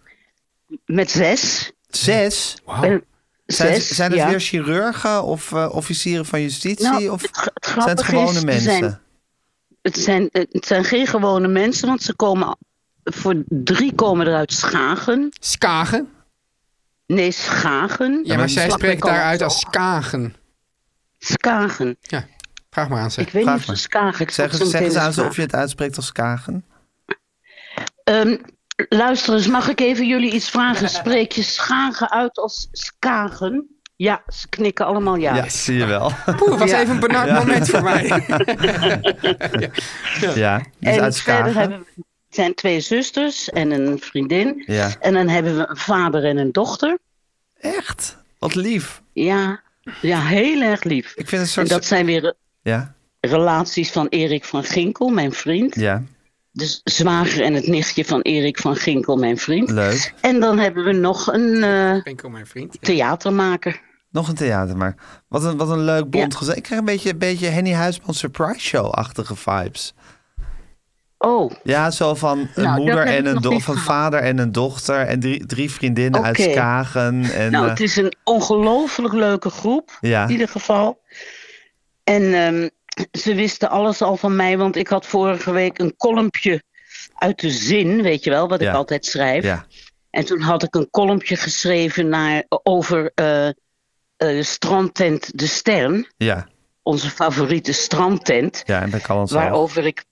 H: met zes.
D: Zes?
H: Ben-
D: Zijn,
H: zes,
D: zijn het
H: ja.
D: weer chirurgen of eh, officieren van justitie?
H: Nou,
D: of
H: het gra- het
D: zijn het
H: grappige
D: gewone
H: is, er
D: mensen?
H: zijn- Het zijn, eh, het zijn geen gewone mensen, want ze komen... Voor drie komen er uit Schagen.
E: Skagen.
H: Nee, Schagen.
E: Ja, maar zij
H: Vlakbij
E: spreekt daaruit als
H: Kalmthoog.
E: Skagen.
H: Skagen.
E: Ja, vraag maar aan ze.
H: Ik weet
D: Vraag
H: niet of
D: maar.
H: ze Skagen... Ik zal
D: Zeg,
H: het zo
D: zeg
H: meteen
D: eens aan
H: eens
D: ze of
H: vragen.
D: je het uitspreekt als Kagen.
H: Ehm, luister eens, mag ik even jullie iets vragen? Spreek je schagen uit als skagen? Ja, ze knikken allemaal ja.
D: Ja, zie je wel.
E: Poeh, was
H: Ja.
E: even een benard moment voor mij.
D: ja, dus
H: en
D: uit
H: verder
D: Skagen.
H: hebben we, het zijn twee zusters en een vriendin.
D: Ja.
H: En dan hebben we een vader en een dochter.
D: Echt? Wat lief.
H: Ja, ja heel erg lief.
D: Ik vind het
H: En
D: soort...
H: dat zijn weer
D: Ja,
H: relaties van Erik van Ginkel, mijn vriend.
D: ja.
H: de zwager en het nichtje van Erik van Ginkel, mijn vriend.
D: Leuk.
H: En dan hebben we nog een eh,
E: Ginkel, mijn vriend.
H: theatermaker.
D: Nog een theater, maar wat een, wat een leuk bond gezin. Ik krijg een beetje, een beetje Henny Huisman surprise show-achtige vibes.
H: Oh,
D: Ja, zo van een
H: Nou, dat
D: moeder
H: heb
D: en
H: ik
D: een
H: nog
D: do-
H: niet
D: van
H: gehad.
D: vader en een dochter en drie, drie vriendinnen uit
H: Oké.
D: Skagen. En,
H: nou,
D: eh,
H: het is een ongelooflijk leuke groep,
D: Ja.
H: in ieder geval. En ehm, ze wisten alles al van mij, want ik had vorige week een kolompje uit de zin, weet je wel, wat
D: Ja.
H: ik altijd schrijf.
D: ja.
H: En toen had ik een kolompje geschreven naar, over eh eh, strandtent De Stern.
D: Ja,
H: Onze favoriete strandtent.
D: ja, en bij Callans
H: waarover ik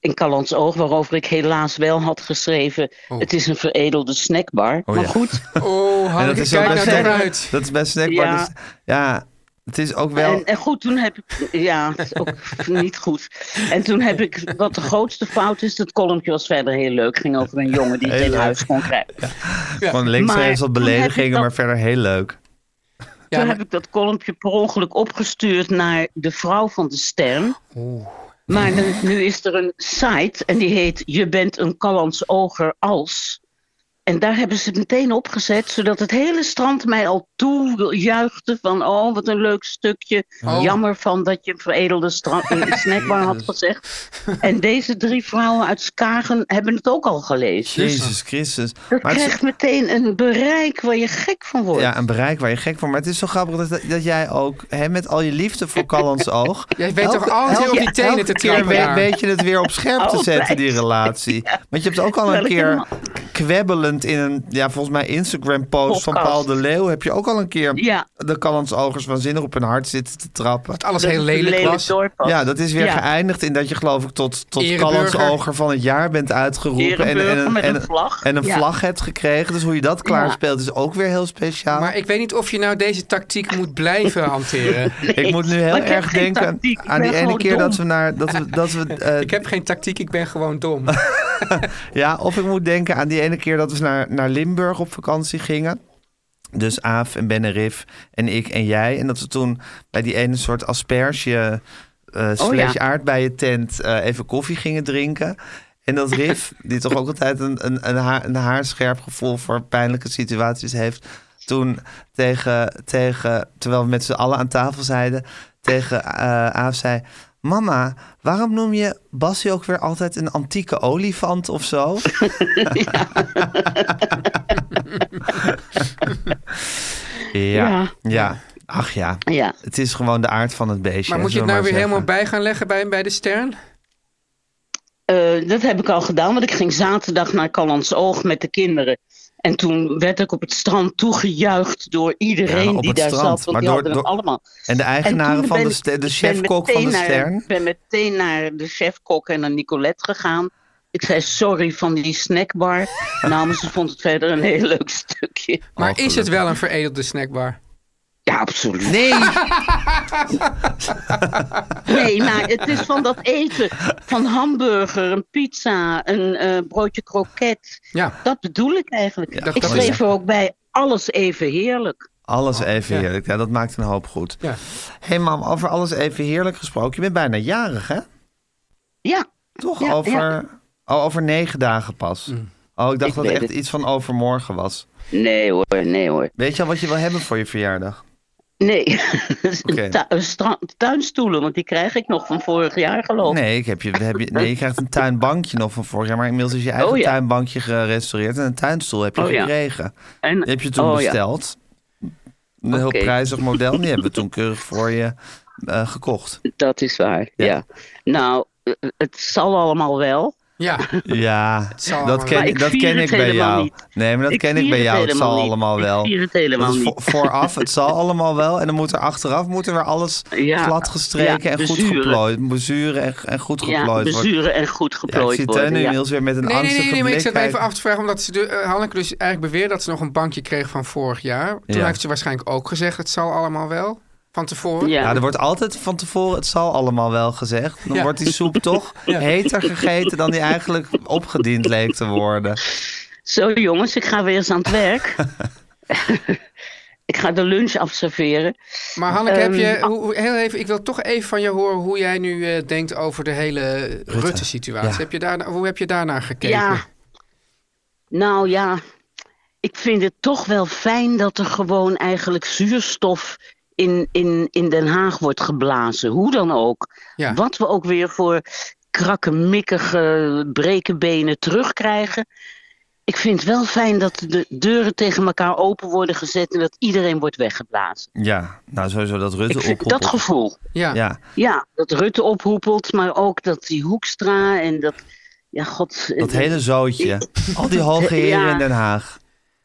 H: in Callans Oog, waarover ik helaas wel had geschreven.
E: Oh.
H: Het is een veredelde snackbar.
D: Oh,
H: maar
D: ja.
H: goed.
E: Oh,
D: En
E: Harry,
D: dat is
E: kijk
D: ook bij
E: nou
D: Snack-
E: toch uit.
D: Dat is bij Snackbar.
H: Ja.
D: dus- ja, het is ook wel...
H: En, en goed, toen heb ik. Ja, het is ook niet goed. En toen heb ik. Wat de grootste fout is, dat kolompje was verder heel leuk. Ging over een jongen die het
D: Heel
H: in
D: leuk.
H: huis kon krijgen.
D: Gewoon links
H: Maar
D: en rechts wat
H: toen heb ik
D: beledigingen,
H: dat-
D: maar verder heel leuk.
E: Ja,
H: toen
E: maar-
H: heb ik dat kolompje per ongeluk opgestuurd naar de vrouw van de Stern. Maar nu, nu is er een site en die heet Je bent een Callans Oger als. En daar hebben ze het meteen opgezet, zodat het hele strand mij al toejuichte van oh, wat een leuk stukje.
E: Oh.
H: Jammer van dat je een veredelde strand een snackbar had gezegd. En deze drie vrouwen uit Skagen hebben het ook al gelezen. Dus
D: Jezus Christus.
H: dat
D: Maar het is-
H: krijgt meteen een bereik waar je gek van wordt.
D: ja, een bereik waar je gek voor. Maar het is zo grappig dat, dat jij ook, hè, met al je liefde voor Callans Oog...
E: Jij weet toch altijd op die tenen
D: elke
E: te
D: keer
E: trappen
D: weet,
E: daar.
D: weet je het weer op scherp te zetten,
H: Altijd.
D: die relatie. Want je hebt ook al een
H: Terwijl ik
D: keer
H: helemaal-
D: kwebbelend in een, ja, volgens mij Instagram-post van
H: Podcast.
D: Paul de Leeuw... heb je ook al een keer
H: Ja.
D: de Callans Ogers waanzinnig op hun hart zitten te trappen.
E: Dat alles heel
H: het een
E: lelijk was.
H: dorp was.
D: Ja, dat is weer
H: Ja.
D: geëindigd in dat je geloof ik tot, tot
E: Ereburger.
D: Callans-oger van het jaar bent uitgeroepen.
H: Ereburger met
D: en,
H: een vlag.
D: en een
H: Ja.
D: vlag hebt gekregen. Dus hoe je dat klaarspeelt is ook weer heel speciaal.
E: Maar ik weet niet of je nou deze tactiek moet blijven hanteren.
D: ik moet nu heel
H: maar ik heb
D: erg
H: geen
D: denken
H: tactiek. Ik
D: aan die
H: ben
D: ene
H: gewoon
D: keer dat we
H: dom.
D: naar... Dat we, dat we, eh,
E: Ik heb geen tactiek, ik ben gewoon dom.
D: Ja, of ik moet denken aan die ene keer dat we naar, naar Limburg op vakantie gingen. Dus Aaf en Ben en Rif en ik en jij. En dat we toen bij die ene soort asperge eh slash
H: Oh ja.
D: aardbeien tent eh, even koffie gingen drinken. En dat Rif, die toch ook altijd een, een, een, haar, een haarscherp gevoel voor pijnlijke situaties heeft. Toen tegen, tegen terwijl we met z'n allen aan tafel zeiden, tegen eh, Aaf zei... Mama, waarom noem je Bassie ook weer altijd een antieke olifant of zo? Ja.
H: Ja.
D: ja. Ach ja.
H: Ja.
D: Het is gewoon de aard van het beestje.
E: Maar moet je het
D: zullen we
E: nou weer
D: zeggen.
E: helemaal bij gaan leggen bij, bij de stern?
H: Eh, dat heb ik al gedaan, want ik ging zaterdag naar Callans Oog met de kinderen. En toen werd ik op het strand toegejuicht door iedereen
D: Ja, op
H: die
D: het
H: daar
D: strand,
H: zat. Want
D: maar
H: die
D: door-
H: hadden het
D: door-
H: allemaal.
D: En de
H: En
D: eigenaren
H: toen
D: van
H: ben
D: de,
H: ik-
D: ste- de
H: ben
D: chefkok
H: meteen
D: van de
H: naar-
D: Stern.
H: Ik ben meteen naar de chefkok en naar Nicolette gegaan. Ik zei sorry van die snackbar. nou, maar ze vond het verder een heel leuk stukje.
E: Maar is het wel een veredelde snackbar?
H: Ja, absoluut.
D: Nee,
H: Nee, maar het is van dat eten. Van hamburger, een pizza, een eh, broodje kroket.
E: Ja.
H: Dat bedoel ik eigenlijk.
E: dat-
H: ik
E: dat
H: schreef
E: is-
H: er ook bij, alles even heerlijk.
D: alles even heerlijk. Ja, dat maakt een hoop goed.
E: Ja.
D: hey mam, over alles even heerlijk gesproken. Je bent bijna jarig, hè?
H: Ja,
D: Toch?
H: Ja, Mm.
D: over, Oh, over negen dagen pas. Oh, ik dacht
H: Ik
D: dat
H: weet
D: het echt
H: het.
D: iets van overmorgen was.
H: nee hoor, nee hoor.
D: Weet je al wat je wil hebben voor je verjaardag?
H: Nee, Een
D: Oké.
H: tu- een stra- tuinstoelen, want die krijg ik nog van vorig jaar geloof ik.
D: Nee, ik heb je, heb je, nee, je krijgt een tuinbankje nog van vorig jaar. Maar inmiddels is je eigen
H: Oh, ja.
D: tuinbankje gerestaureerd. En een tuinstoel heb je
H: Oh, ja.
D: gekregen.
H: En-
D: Die heb je toen
H: oh, ja.
D: besteld. Een heel
H: Oké.
D: prijzig model. Die hebben we toen keurig voor je eh, gekocht.
H: Dat is waar,
D: Ja.
H: ja. Nou, eh, het zal allemaal wel.
E: Ja,
D: Ja,
E: zal
D: dat
E: allemaal
D: ken,
H: Maar
D: ik-
H: ik
D: dat
H: vier
D: ken
H: het
D: ik bij
H: helemaal
D: jou.
H: niet.
D: Nee, maar dat
H: Ik
D: ken ik
H: vier
D: bij
H: het
D: jou. Het zal
H: helemaal niet.
D: allemaal
H: Ik
D: wel.
H: vier het helemaal
D: Dat is
H: niet.
D: vo- vooraf, het zal allemaal wel. En dan moet er achteraf moet er weer alles
H: Ja,
D: glad gestreken
H: ja,
D: en goed
H: bezuren.
D: geplooid. Bezuren en, en goed
H: Ja,
D: geplooid worden.
H: bezuren en goed
D: Ja, ik
H: geplooid
D: zie Teun
H: worden.
D: nu
H: ja.
D: inmiddels weer met een
E: Nee, nee,
D: angstige
E: nee, nee, maar ik
D: blik
E: zat me even
D: kijken.
E: af te vragen. Omdat ze de, eh, Hanneke dus eigenlijk beweert dat ze nog een bankje kreeg van vorig jaar. Toen
D: Ja.
E: heeft ze waarschijnlijk ook gezegd, het zal allemaal wel. Van tevoren.
H: Ja.
D: Ja, Nou, er wordt altijd van tevoren, het zal allemaal wel gezegd. Dan
E: Ja.
D: wordt die soep toch heter gegeten dan die eigenlijk opgediend leek te worden.
H: Zo jongens, ik ga weer eens aan het werk. Ik ga de lunch afserveren.
E: Maar Hanneke,
H: Ehm,
E: heb je, hoe- hoe- heel even, ik wil toch even van je horen hoe jij nu eh, denkt over de hele Rutte-situatie.
D: ja.
E: Heb je daar, hoe heb je daarnaar gekeken?
H: Ja. Nou ja, ik vind het toch wel fijn dat er gewoon eigenlijk zuurstof in, in, in Den Haag wordt geblazen. Hoe dan ook.
E: Ja.
H: Wat we ook weer voor krakkemikkige brekenbenen terugkrijgen. Ik vind het wel fijn dat de deuren tegen elkaar open worden gezet en dat iedereen wordt weggeblazen.
D: Ja, nou sowieso dat Rutte
H: Ik vind dat
D: ophoppelt.
H: gevoel.
E: Ja.
D: Ja,
H: Ja, dat Rutte ophoepelt, maar ook dat die Hoekstra en dat. Ja, god.
D: dat hele zootje. Al die hoge heren
H: Ja.
D: in Den Haag.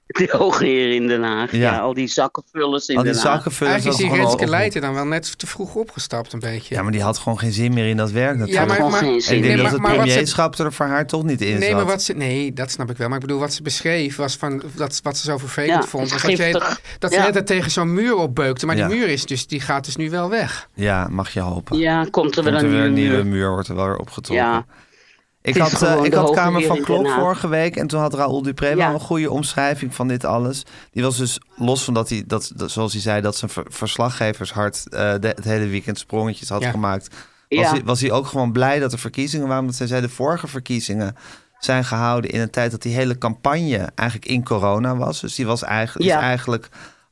H: Die hoge heren in Den Haag. Ja.
D: Ja.
H: al die zakkenvullers in
D: Al die
H: Den Haag.
D: zakkenvullers.
E: Eigenlijk is
D: dat
E: die
D: gewoon
E: Renske
D: al-
E: Leijten dan wel net te vroeg opgestapt een beetje.
D: Ja, maar die had gewoon geen zin meer in dat werk natuurlijk.
E: maar-
H: Gewoon geen
D: En
H: zin
D: ik
E: Nee,
D: denk
H: meer.
E: maar-
D: dat het
E: maar wat ze-
D: premierschap er voor haar toch niet in
E: Nee,
D: zat.
E: maar wat ze, nee, dat snap ik wel. Maar ik bedoel, wat ze beschreef was van, dat, wat ze zo vervelend
H: Ja,
E: vond.
H: is
E: Was dat, je,
H: giftig.
E: dat ze
H: Ja.
E: net tegen zo'n muur opbeukte. Maar
D: Ja.
E: die muur is dus, die gaat dus nu wel weg.
D: Ja, mag je hopen.
H: Ja, komt er wel
D: Komt
H: een
D: er weer
H: nieuwe
D: een nieuwe
H: muur.
D: muur, wordt er wel weer opgetrokken.
H: Ja.
D: Ik
H: Het is
D: had, eh,
H: gewoon
D: ik
H: de
D: had
H: hoge
D: Kamer
H: weer
D: van
H: in
D: Klok
H: Den Haag.
D: vorige week en toen had Raoul Dupré
H: Ja.
D: wel een goede omschrijving van dit alles. Die was dus los van dat hij, dat, dat- zoals hij zei, dat zijn ver- verslaggevershart eh, de- het hele weekend sprongetjes had
E: Ja.
D: gemaakt. Was,
H: Ja.
D: hij, was hij ook gewoon blij dat er verkiezingen waren? Want zij zei de vorige verkiezingen zijn gehouden in een tijd dat die hele campagne eigenlijk in corona was. Dus die was eigenlijk,
H: Ja.
D: is eigenlijk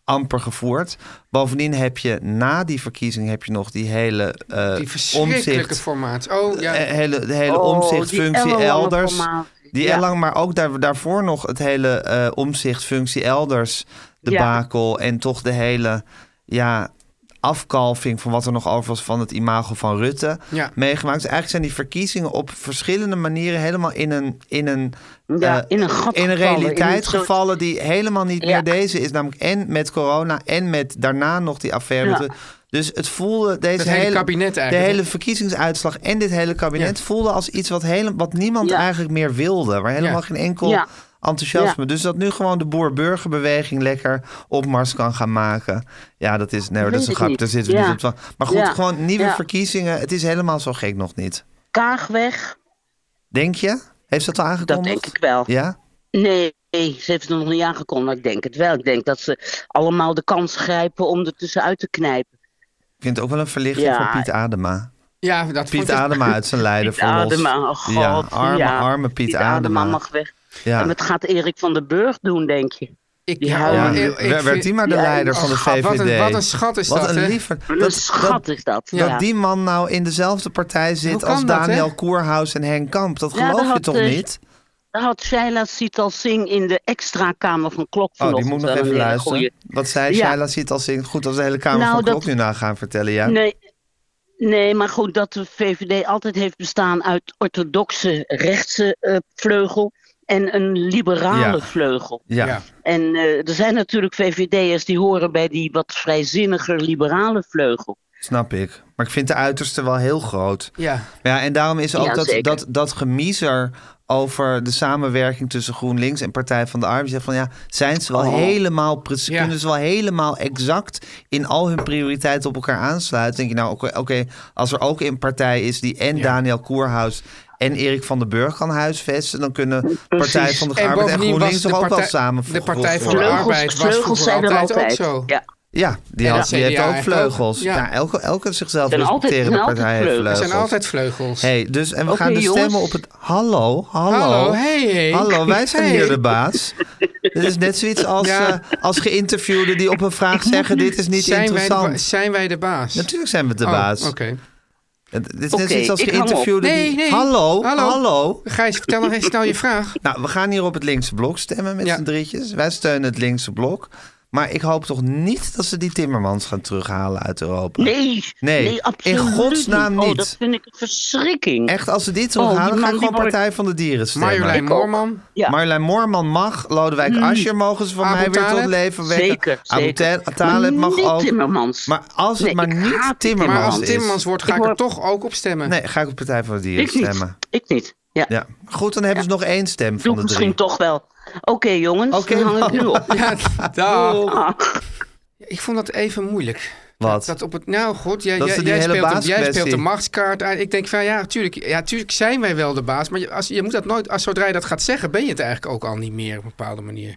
D: amper gevoerd. Bovendien heb je na die verkiezing heb je nog die hele eh
E: Die verschrikkelijke
D: omzicht Eh,
E: formaat. Oh ja,
D: de hele, de hele
H: Oh, die
D: omzichtfunctie
H: ellenlange
D: elders.
H: formatie.
D: Die
H: Ja.
D: ellang, maar ook daar, daarvoor nog het hele eh omzichtfunctie elders. De
H: Ja.
D: bakel en toch de hele ja, afkalving van wat er nog over was van het imago van Rutte
E: Ja.
D: meegemaakt. Dus eigenlijk zijn die verkiezingen op verschillende manieren helemaal in een, in een,
H: Ja,
D: eh,
H: in een gat gevallen, in
D: in een
H: een
D: realiteit
H: soort-
D: gevallen die helemaal niet
H: Ja.
D: meer deze is. Namelijk en met corona en met daarna nog die affaire.
H: Ja.
D: met Rutte. Dus het voelde deze
E: Het hele kabinet eigenlijk,
D: De
E: hè?
D: hele verkiezingsuitslag en dit hele kabinet voelde als iets wat, hele, wat niemand
H: Ja.
D: eigenlijk meer wilde. Waar helemaal
E: Ja.
D: geen enkel
H: Ja.
D: enthousiasme.
H: Ja.
D: Dus dat nu gewoon de boer-burgerbeweging lekker op Mars kan gaan maken. Ja, dat is, nee, dat
H: weet
D: is een
H: ik
D: grap.
H: niet.
D: Daar zitten we
H: Ja.
D: niet op te wachten. Maar goed,
H: Ja.
D: gewoon nieuwe
H: Ja.
D: verkiezingen. Het is helemaal zo gek nog niet.
H: Kaag weg.
D: Denk je? Heeft ze dat al aangekondigd?
H: denk ik wel.
D: Ja?
H: Nee, ze heeft het nog niet aangekondigd. maar Ik denk het wel. Ik denk dat ze allemaal de kans grijpen om er tussenuit te knijpen.
D: Ik vind het ook wel een verlichting
H: Ja.
D: voor Piet Adema.
E: ja dat
D: Piet
E: vond ik-
D: Adema uit zijn lijden
H: Piet
D: voor ons.
H: Adema, oh god.
D: ja, arme,
H: ja.
D: arme Piet,
H: Adema.
D: Adema.
H: mag weg.
D: Ja.
H: En wat gaat Erik van den Burg doen, denk je?
E: Ik,
H: Die
E: ja,
H: huilen.
D: Ja,
E: ik-
D: wer-
E: ik
D: werd
E: vind-
D: hij maar de
H: ja,
D: leider
E: oh,
D: van de
E: gat,
D: VVD?
E: wat een- wat een schat is
D: wat
E: dat,
D: Een
E: hè?
D: liever-
H: Wat een schat is dat,
D: Dat
H: ja.
D: die man nou in dezelfde partij zit
E: Hoe
D: als
E: kan dat, hè?
D: Daniel Koerhuis en Henk Kamp. Dat
H: Ja,
D: geloof
H: dat
D: je
H: had,
D: toch
H: eh,
D: niet? Oh,
H: Daar had Shaila Sital Singh in de extra kamer van Klok
D: Oh, die
H: vanochtend
D: moet nog
H: wel eh, een
D: even
H: hele
D: luisteren.
H: goeie-
D: Wat zei
H: Ja.
D: Shaila ziet als in... Goed, als de hele Kamer
H: Nou,
D: van
H: dat-
D: Klok nu na gaan vertellen, ja.
H: Nee, nee, maar goed, dat de VVD altijd heeft bestaan uit orthodoxe rechtse eh, vleugel en een liberale
D: Ja.
H: vleugel.
D: Ja.
E: Ja.
H: En eh, er zijn natuurlijk VVD'ers die horen bij die wat vrijzinniger liberale vleugel.
D: snap ik. Maar ik vind de uiterste wel heel groot.
E: Ja.
D: Ja, en daarom is ook
H: Ja,
D: dat,
H: zeker.
D: dat, dat gemiezer over de samenwerking tussen GroenLinks en Partij van de Arbeid. Zegt van ja, zijn ze wel
H: Oh.
D: helemaal precies,
E: Ja.
D: kunnen ze wel helemaal exact in al hun prioriteiten op elkaar aansluiten? Denk je nou, oké, oké, als er ook een partij is die en Daniel Koerhuis en Erik van den Burg kan huisvesten, dan kunnen Partij van de
E: En
D: Arbeid en,
E: bovendien was
D: GroenLinks
E: de
D: toch ook wel
E: partij-
D: samen
E: de Partij van de
D: worden?
E: Arbeid.
H: Vleugels,
E: was vroeger
H: vleugels zijn er
E: altijd ook
H: altijd.
E: zo.
H: Ja,
D: Ja, die,
E: En
D: had-
E: de
D: die heeft
E: CDA
D: ook
E: eigenlijk
D: vleugels.
E: ook.
D: Ja.
E: Ja.
D: elke, elke zichzelf
H: Zijn altijd-
D: respecterende
H: zijn altijd
D: partij heeft
H: vleugels.
D: vleugels.
E: Er zijn altijd vleugels.
D: Hey, dus, en we
H: Oké,
D: gaan dus
H: jongens.
D: stemmen op het... Hallo, hallo.
E: Hallo, hey, hey.
D: Hallo, wij zijn
E: Hey.
D: hier de baas. Dit is net zoiets als,
E: Ja.
D: eh, als geïnterviewden die op een vraag zeggen... dit is niet
E: zijn, wij de,
D: interessant.
E: ba- zijn wij de baas?
D: Natuurlijk zijn we de
E: Oh,
D: baas.
E: Oké.
D: Het- Dit is net
H: Oké,
D: zoiets als
H: ik hang op.
D: geïnterviewden
E: Nee,
D: die...
E: nee.
D: Hallo, hallo,
E: Gijs, vertel nog eens snel je vraag.
D: Nou, we gaan hier op het linkse blok stemmen met
E: Ja.
D: z'n drietjes. Wij steunen het linkse blok. Maar ik hoop toch niet dat ze die Timmermans gaan terughalen uit Europa.
H: nee,
D: Nee, in
H: absoluut
D: godsnaam
H: niet. Oh,
D: niet.
H: dat vind ik een verschrikking.
D: Echt, als ze dit
H: Oh, die
D: terughalen,
H: man
D: ga ik
H: die
D: gewoon
H: wordt-
D: Partij van de Dieren stemmen.
E: Marjolein Moorman.
H: Ja. Hmm.
D: Marjolein Moorman mag, Lodewijk Asscher mogen ze van
E: Abu
D: mij weer tot
E: Taleb?
D: leven wekken.
H: Zeker,
D: Abu
H: zeker.
D: Ta- Taleb
H: Maar
D: mag
H: niet
D: ook.
H: Timmermans.
D: Maar als het
H: Nee,
D: maar
H: ik
D: niet
H: haat die
D: Timmermans,
E: Maar als
D: is.
E: Timmermans wordt, ga
H: Ik
E: ik er
H: hoor-
E: toch ook op stemmen.
D: Nee, ga ik op Partij van de Dieren
H: ik
D: stemmen.
H: niet. Ik niet. Ja,
D: Ja. Goed, dan hebben ze nog één stem
H: doe
D: van
H: ik
D: de
H: misschien
D: drie.
H: toch wel. Oké jongens,
D: Oké,
H: dan hang ik nu op.
E: Ja, dag.
H: Ah.
E: Ik vond dat even moeilijk.
D: Wat?
E: Dat op het, nou goed, jij,
D: Dat is
E: jij,
D: die
E: jij
D: hele
E: speelt, de- jij
D: baaskwestie.
E: speelt de machtskaart aan. Ik denk van ja, tuurlijk, ja, tuurlijk zijn wij wel de baas. Maar je, als, je moet dat nooit, als, zodra je dat gaat zeggen, ben je het eigenlijk ook al niet meer op een bepaalde manier.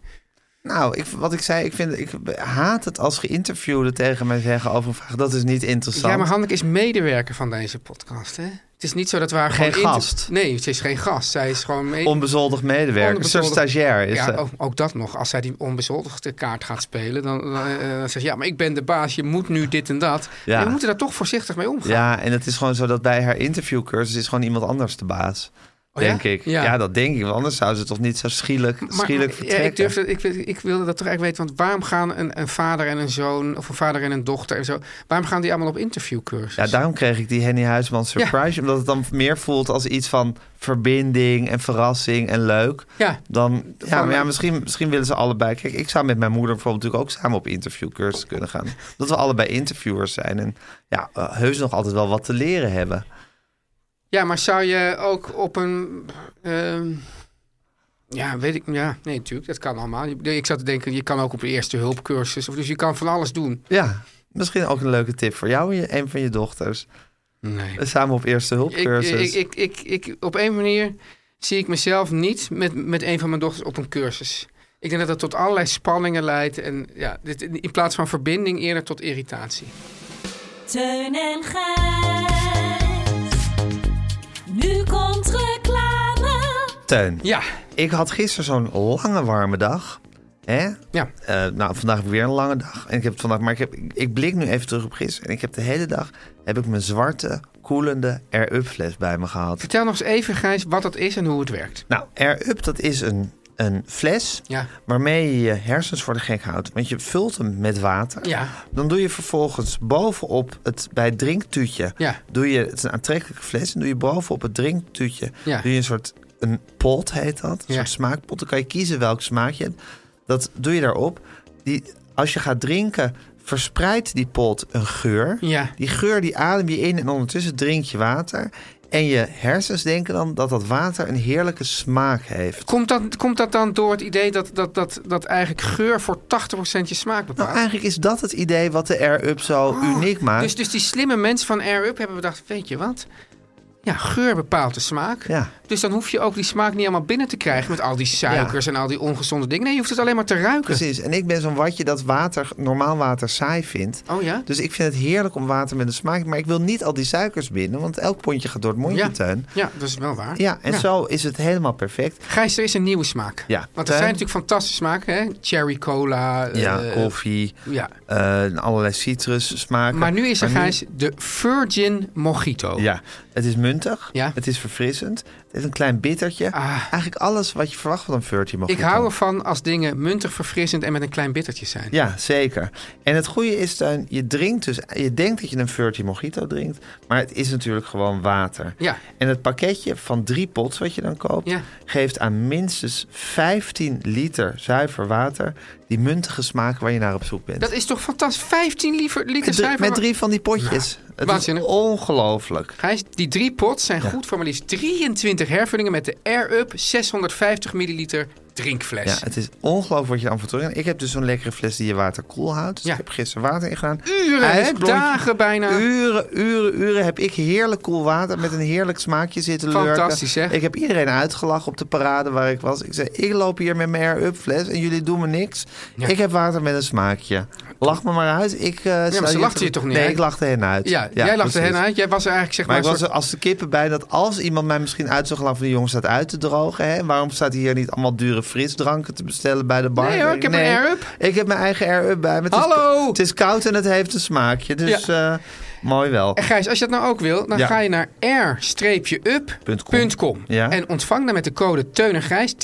D: Nou, ik, wat ik zei, ik, vind, ik haat het als geïnterviewden tegen mij zeggen over een vraag. Dat is niet interessant.
E: Ja, maar Hanneke is medewerker van deze podcast, hè? Het is niet zo dat we haar
D: Geen
E: gewoon... inter-
D: gast.
E: Nee, ze is geen gast. Zij is gewoon... mee-
D: Onbezoldigd medewerker. Een soort
E: Onbezoldigd-
D: stagiair is eh,
E: ja, oh,
D: ze.
E: ook, ook dat nog. Als zij die onbezoldigde kaart gaat spelen, dan, dan, eh, dan zegt ze... Ja, maar ik ben de baas, je moet nu dit en dat.
D: Ja.
E: Ja. We moeten daar toch voorzichtig mee omgaan.
D: Ja, en het is gewoon zo dat bij haar interviewcursus is gewoon iemand anders de baas.
E: Oh ja?
D: denk ik. Ja.
E: Ja.
D: dat denk ik. Want anders zou ze toch niet zo schielijk, schielijk
E: ja,
D: vertrekken.
E: ik, durfde, ik, wil- ik wilde dat toch eigenlijk weten. Want waarom gaan een, een vader en een zoon... of een vader en een dochter en zo... waarom gaan die allemaal op interviewcursus?
D: Ja, daarom kreeg ik die Henny Huisman surprise. Omdat het dan meer voelt als iets van verbinding en verrassing en leuk.
E: Ja.
D: Dan, ja,
E: Van-
D: maar ja, misschien, misschien willen ze allebei. Kijk, ik zou met mijn moeder bijvoorbeeld natuurlijk ook samen op interviewcursus kunnen gaan. Dat we allebei interviewers zijn. En ja, eh, heus nog altijd wel wat te leren hebben.
E: Ja, maar zou je ook op een. ehm, ja, weet ik. Ja, nee, natuurlijk, dat kan allemaal. Je- Ik zat te denken, je kan ook op een eerste hulpcursus. of- Dus je kan van alles doen.
D: Ja, misschien ook een leuke tip voor jou en je- een van je dochters.
E: Nee.
D: Samen op eerste
E: Ik,
D: hulpcursus.
E: ik, ik, ik, ik- op een manier zie ik mezelf niet met, met een van mijn dochters op een cursus. Ik denk dat dat tot allerlei spanningen leidt. En ja, dit, in plaats van verbinding eerder tot irritatie.
G: Teun en Gijs. Nu komt reclame.
D: Teun.
E: Ja.
D: Ik had gisteren zo'n lange warme dag. Hè?
E: Ja.
D: Eh, nou, vandaag heb ik weer een lange dag. En ik heb het vandaag, maar ik, heb, ik blik nu even terug op gisteren. En ik heb de hele dag heb ik mijn zwarte, koelende Air-Up fles bij me gehad.
E: Vertel nog eens even, Gijs, wat dat is en hoe het werkt.
D: Nou, Air-Up, dat is een, een fles
E: Ja.
D: waarmee je je hersens voor de gek houdt. Want je vult hem met water.
E: Ja.
D: Dan doe je vervolgens bovenop het, bij het drinktuutje...
E: Ja.
D: Doe je, het is een aantrekkelijke fles. En doe je bovenop het drinktuutje...
E: Ja.
D: Doe je een soort een pot, heet dat. Een
E: Ja.
D: soort smaakpot. Dan kan je kiezen welk smaak je hebt. Dat doe je daarop. Die, als je gaat drinken, verspreidt die pot een geur.
E: Ja.
D: Die geur die adem je in en ondertussen drink je water... En je hersens denken dan dat dat water een heerlijke smaak heeft.
E: Komt dat, komt dat dan door het idee dat, dat, dat, dat eigenlijk geur voor 80% je smaak bepaalt?
D: Nou, eigenlijk is dat het idee wat de Air-Up zo uniek maakt.
E: Dus, dus die slimme mensen van Air Up hebben bedacht, weet je wat? Ja, geur bepaalt de smaak.
D: Ja.
E: Dus dan hoef je ook die smaak niet allemaal binnen te krijgen met al die suikers en al die ongezonde dingen. Nee, je hoeft het alleen maar te ruiken.
D: Precies. En ik ben zo'n watje dat water, normaal water saai vindt.
E: Oh ja?
D: Dus ik vind het heerlijk om water met een smaak. Maar ik wil niet al die suikers binnen, want elk pondje gaat door het mondje,
E: Ja.
D: Teun.
E: Ja, dat is wel waar.
D: Ja, en zo is het helemaal perfect.
E: Gijs, er is een nieuwe smaak.
D: Ja.
E: Want er
D: Tuin.
E: zijn natuurlijk fantastische smaken, hè? Cherry cola.
D: Ja,
E: eh,
D: koffie,
E: Ja.
D: eh, allerlei citrus smaken.
E: Maar nu is er, Gijs, de Virgin Mojito.
D: Ja, het is muntig,
E: Ja. Ah.
D: het is verfrissend, het is een klein bittertje. Eigenlijk alles wat je verwacht van een Virgin mag
E: Ik hou ervan als dingen muntig, verfrissend en met een klein bittertje zijn.
D: Ja, zeker. En het goede is dan, je drinkt dus, je denkt dat je een Virgin Mojito drinkt, maar het is natuurlijk gewoon water.
E: Ja.
D: En het pakketje van drie pots wat je dan koopt,
E: Ja.
D: geeft aan minstens 15 liter zuiver water die muntige smaak waar je naar op zoek bent.
E: Dat is toch fantastisch? 15 liever- liter
D: met, drie,
E: zuiver
D: met drie van die potjes. het is
E: waanzinnig.
D: ongelooflijk.
E: Gijs, die drie pots zijn goed voor maar liefst 23 hervullingen met de Air Up 650 milliliter drinkfles.
D: Ja, het is ongelooflijk wat je dan voor terug. Ik heb dus zo'n lekkere fles die je water koel houdt. Dus
E: Ja.
D: ik heb gisteren water ingedaan.
E: Uren, hè?
D: Ijsklontje.
E: Dagen bijna.
D: Uren, uren, uren heb ik heerlijk koel water met een heerlijk smaakje zitten lurken.
E: Fantastisch, hè?
D: Ik heb iedereen uitgelachen op de parade waar ik was. Ik zei, ik loop hier met mijn air-up fles en jullie doen me niks.
E: Ja.
D: Ik heb water met een smaakje. Lach me maar uit. Ik, eh, sta
E: ze
D: hier
E: lachten
D: te-
E: je toch niet
D: Nee,
E: uit?
D: ik lachte hen uit.
E: Ja, jij lachte hen
D: precies.
E: uit. Jij was er eigenlijk zeg
D: Maar
E: maar,
D: ik was
E: een
D: er als de kippen bij dat als iemand mij misschien uit zou gaan van die jongen staat uit te drogen. Hè? Waarom staat hij hier niet allemaal dure frisdranken te bestellen bij de bar?
E: Nee hoor, ik heb een air-up.
D: Ik heb mijn eigen air-up bij me. Het Is,
E: Hallo!
D: het is koud en het heeft een smaakje. Dus eh, mooi wel.
E: En Gijs, als je dat nou ook wil, dan
D: Ja.
E: ga je naar e r-up.com
D: Ja.
E: en ontvang dan met de code Teun en Gijs 10%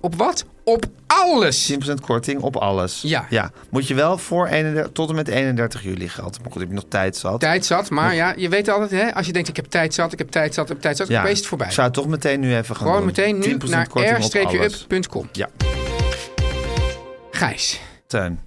E: op wat? Op alles!
D: 10% korting op alles.
E: Ja.
D: Moet je wel voor 31, tot en met 31 juli gelden. Maar goed, heb je nog tijd zat.
E: Tijd zat, maar ja, je weet altijd hè, als je denkt ik heb tijd zat, ik heb tijd zat, ik heb tijd zat,
D: Ja.
E: opeens is het voorbij.
D: Ik zou het toch meteen nu even gaan
E: Gewoon
D: doen.
E: meteen nu
D: 10%
E: naar
D: korting op alles.
E: r-up.com.
D: Ja,
E: Gijs,
D: tuin.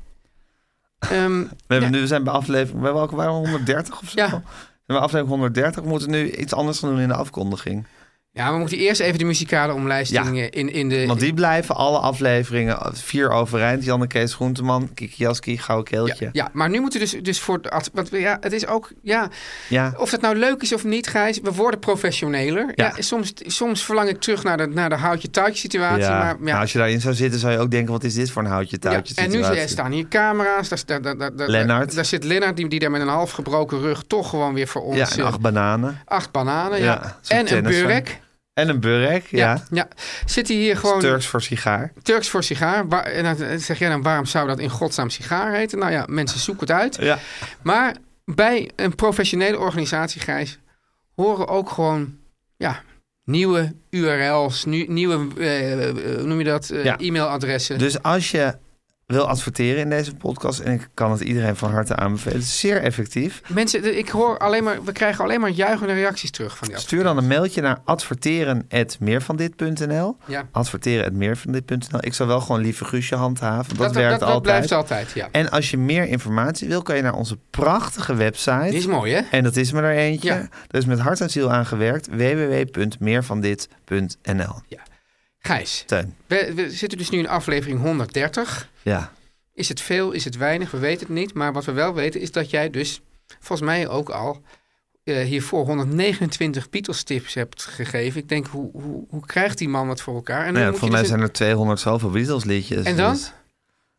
E: ehm,
D: We, hebben nu, we zijn bij aflevering... Bij welke waren we? 130 of zo?
E: Ja.
D: We zijn bij aflevering 130. We moeten nu iets anders gaan doen in de afkondiging.
E: Ja, we moeten eerst even de muzikale omlijsting eh, in, in de...
D: Want die blijven alle afleveringen eh, vier overeind. Jan en Kees Groenteman, Kiki Jaski, Gauw Keeltje.
E: ja, ja, maar nu moeten we dus, dus voor... de ad- Want we- ja, het is ook... Ja,
D: Ja.
E: Of dat nou leuk is of niet, Gijs, we worden professioneler. Ja.
D: Ja.
E: soms, soms verlang ik terug naar de, naar de houtje-touwtje situatie.
D: Ja.
E: Maar,
D: Nou,
E: ja,
D: als je daarin zou zitten, zou je ook denken: wat is dit voor een houtje
E: ja.
D: touwtje?
E: En nu
D: situatie?
E: eh, staan hier camera's. Daar, daar, daar, daar- daar,
D: Lennart.
E: daar zit Lennart, die, die daar met een half gebroken rug toch gewoon weer voor ons...
D: Ja, en
E: eh,
D: acht bananen.
E: acht bananen, ja.
D: Ja, zo'n
E: en een
D: tennisser.
E: burek.
D: En een burek, ja.
E: Ja, ja. Zit hij hier gewoon...
D: Turks voor sigaar.
E: Turks voor sigaar. Wa- En dan eh, zeg jij dan, waarom zou dat in godsnaam sigaar heten? Nou ja, mensen zoeken het uit.
D: Ja.
E: Maar bij een professionele organisatie, Gijs, horen ook gewoon ja, nieuwe URL's, nu- nieuwe, eh, eh, hoe noem je dat, eh,
D: Ja.
E: e-mailadressen.
D: Dus als je wil adverteren in deze podcast, en ik kan het iedereen van harte aanbevelen, het is zeer effectief.
E: Mensen, de- ik hoor alleen maar, we krijgen alleen maar juichende reacties terug van die
D: Stuur dan een mailtje naar adverteren.meervandit.nl.
E: Ja.
D: Adverteren.meervandit.nl. Ik zou wel gewoon lieve Guusje handhaven. Dat,
E: Dat- dat-
D: werkt
E: dat
D: altijd.
E: blijft altijd, ja.
D: En als je meer informatie wil, kan je naar onze prachtige website.
E: Die is mooi, hè?
D: En dat is maar er eentje.
E: Ja.
D: Er is met hart en ziel aan gewerkt. www.meervandit.nl.
E: Gijs,
D: Teun.
E: we, we zitten dus nu in aflevering 130.
D: Ja.
E: Is het veel, is het weinig? We weten het niet. Maar wat we wel weten is dat jij dus volgens mij ook al eh, hiervoor 129 Beatles tips hebt gegeven. Ik denk, hoe, hoe, hoe krijgt die man dat voor elkaar? En
D: Nou ja,
E: moet
D: voor
E: je
D: mij
E: dus
D: zijn er 200 zoveel Beatles liedjes.
E: En dan?
D: dus-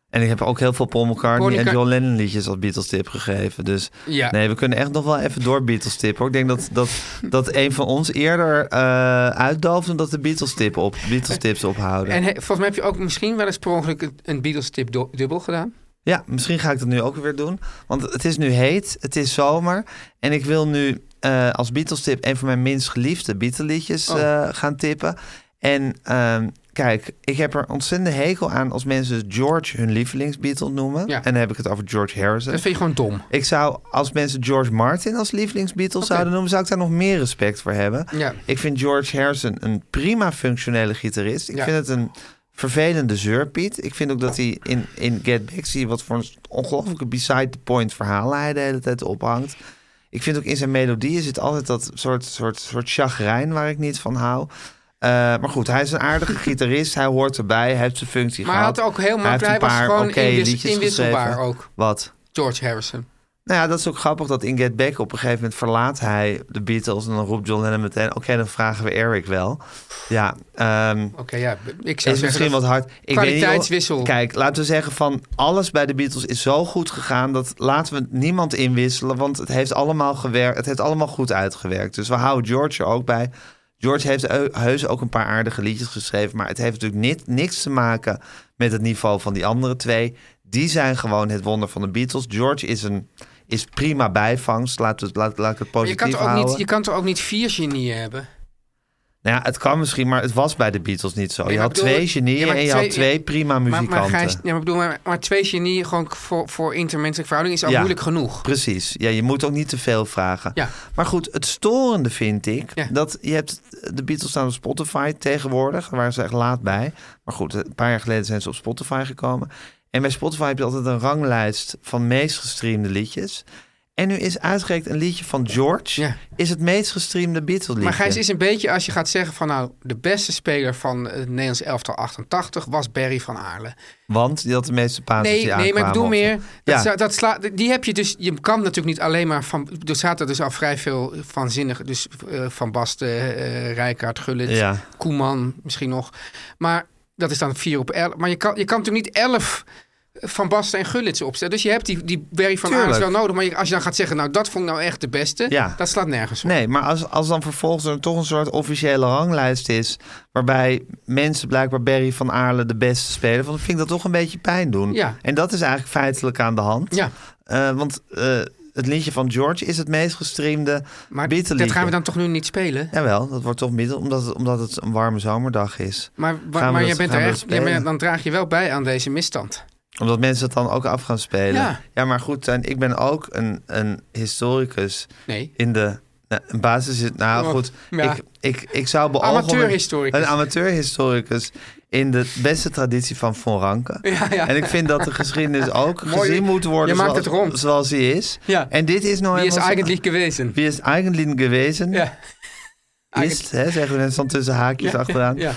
D: En ik heb ook heel veel Paul McCartney
E: Paul
D: en
E: McCart-
D: John Lennon liedjes als Beatles tip gegeven. Dus
E: Ja.
D: nee, we kunnen echt nog wel even door Beatles tip hoor. Ik denk dat, dat, dat een van ons eerder eh uitdooft omdat de Beatles, tip op, Beatles tips ophouden.
E: En he- volgens mij heb je ook misschien wel eens per ongeluk een, een Beatles tip do- dubbel gedaan.
D: Ja, misschien ga ik dat nu ook weer doen. Want het is nu heet, het is zomer. En ik wil nu eh, als Beatles tip een van mijn minst geliefde Beatles liedjes
E: Oh.
D: eh, gaan tippen. En ehm, kijk, ik heb er ontzettende hekel aan als mensen George hun lievelingsbeatle noemen.
E: Ja. Dus-
D: En dan heb ik het over George Harrison.
E: Dat vind je gewoon dom.
D: Ik zou, als mensen George Martin als lievelingsbeatle zouden noemen, zou ik daar nog meer respect voor hebben.
E: Ja.
D: Ik vind George Harrison een prima functionele gitarist. Ik
E: Ja.
D: vind het een vervelende zeurpiet. Ik vind ook dat hij in, in Get Back zie je wat voor een ongelooflijke beside-the-point verhalen hij de hele tijd ophangt. Ik vind ook in zijn melodieën zit altijd dat soort, soort, soort chagrijn waar ik niet van hou. Eh, maar goed, hij is een aardige gitarist. Hij hoort erbij. Hij heeft zijn functie
E: Maar hij
D: gehad.
E: had ook heel makkelijk-
D: heeft een
E: hij was
D: paar
E: gewoon
D: oké
E: inwis-
D: liedjes
E: inwisselbaar
D: geschreven.
E: ook.
D: Wat?
E: George Harrison.
D: Nou ja, dat is ook grappig dat in Get Back op een gegeven moment verlaat hij de Beatles en dan roept John Lennon meteen: Oké, dan vragen we Eric wel. Ja, ehm,
E: Oké, ja. b- Ik zou
D: is
E: zeggen
D: misschien
E: dat-
D: wat hard. Ik weet niet of-
E: kwaliteitswissel.
D: kijk, laten we zeggen van alles bij de Beatles is zo goed gegaan dat laten we niemand inwisselen, want het heeft allemaal gewerkt. Het heeft allemaal goed uitgewerkt. Dus we houden George er ook bij. George heeft eu- heus ook een paar aardige liedjes geschreven, maar het heeft natuurlijk niet, niks te maken met het niveau van die andere twee. Die zijn gewoon het wonder van de Beatles. George is een is prima bijvangst. Laat, het, laat, laat ik het
E: Maar je
D: positief
E: kan, toch ook
D: houden.
E: niet, je kan toch ook niet vier genieën hebben?
D: Nou ja, het kan misschien, maar het was bij de Beatles niet zo.
E: Nee,
D: Oh, je
E: maar
D: had
E: bedoel-
D: twee genieën
E: Ja, maar
D: en je
E: twee-
D: had twee prima
E: Maar,
D: muzikanten.
E: maar, Gijs, ja, maar, bedoel, maar, maar twee genieën gewoon voor, voor intermenselijke verhouding is al
D: Ja.
E: moeilijk genoeg.
D: Precies. Ja, je moet ook niet te veel vragen.
E: Ja.
D: Maar goed, het storende vind ik
E: Ja.
D: dat je hebt de Beatles staan op Spotify tegenwoordig. Daar waren ze echt laat bij. Maar goed, een paar jaar geleden zijn ze op Spotify gekomen. En bij Spotify heb je altijd een ranglijst van meest gestreamde liedjes. En nu is uitgereikt een liedje van George.
E: Ja.
D: Is het meest gestreamde Beatles liedje.
E: Maar Gijs is een beetje, als je gaat zeggen van nou, de beste speler van het Nederlands elftal 88 was Barry van Aarle.
D: Want die had de meeste pases
E: Nee,
D: die
E: nee, maar ik
D: aankwamen
E: bedoel
D: op-
E: meer. Dat,
D: Ja.
E: zou- dat sla, die heb je dus. Je kan natuurlijk niet alleen maar van. Er zaten dus al vrij veel van zinnige. Dus eh, van Basten, eh Rijkaard, Gullit,
D: Ja.
E: Koeman misschien nog. Maar dat is dan vier op elf. Maar je kan, je kan natuurlijk niet elf van Basten en Gullits opstellen. Dus je hebt die, die Barry van
D: Tuurlijk.
E: Aardes wel nodig. Maar je- als je dan gaat zeggen, nou dat vond ik nou echt de beste,
D: Ja.
E: dat slaat nergens op.
D: Nee, maar als, als dan vervolgens er toch een soort officiële ranglijst is... waarbij mensen blijkbaar Barry van Aarle de beste spelen... dan vind ik dat toch een beetje pijn doen.
E: Ja.
D: En dat is eigenlijk feitelijk aan de hand.
E: Ja.
D: Eh, want eh, het liedje van George is het meest gestreamde
E: Maar
D: Beatle
E: dat gaan we
D: liedje.
E: dan toch nu niet spelen?
D: Jawel, dat wordt toch middel, omdat het, omdat het een warme zomerdag is.
E: Maar, wa-
D: Gaan we
E: maar
D: dat-
E: je bent
D: gaan
E: er
D: we
E: echt,
D: dat
E: ja, maar
D: spelen?
E: dan draag je wel bij aan deze misstand.
D: Omdat mensen het dan ook af gaan spelen.
E: Ja.
D: maar goed, Teun, ik ben ook een, een historicus
E: Nee.
D: in de... Nou, een basis is... Nou
E: Oh,
D: goed,
E: ja.
D: ik, ik, ik zou beogen... om een-
E: Amateurhistoricus.
D: Een amateurhistoricus in de beste traditie van Von Ranke.
E: Ja, ja.
D: En ik vind dat de geschiedenis ook
E: Mooi.
D: gezien moet worden
E: Je maakt
D: zoals,
E: het rond.
D: zoals die is.
E: Ja.
D: En dit is nou
E: Wie is
D: helemaal zo-
E: eigenlijk geweest?
D: Wie is eigenlijk geweest?
E: Ja.
D: Is, hè, zeggen mensen dan tussen haakjes achteraan.
E: ja.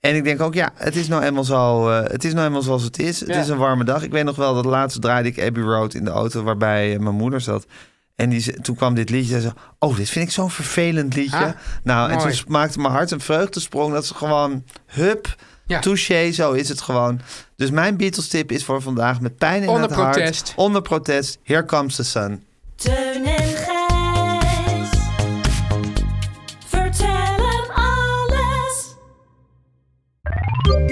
D: En ik denk ook, ja, het is nou eenmaal, zo, eh, het is nou eenmaal zoals het is. Het
E: Ja.
D: is een warme dag. Ik weet nog wel dat laatst draaide ik Abbey Road in de auto waarbij eh, mijn moeder zat. En die, ze- toen kwam dit liedje en zei ze, oh, dit vind ik zo'n vervelend liedje.
E: Ah,
D: nou, en
E: mooi.
D: toen s- maakte mijn hart een vreugdesprong dat ze gewoon, hup,
E: Ja.
D: touché, zo is het gewoon. Dus mijn Beatles tip is voor vandaag met pijn in
E: Onder
D: het hart.
E: protest.
D: Onder protest. Here comes the sun.
G: Teun en Gijs. Vertel hem alles.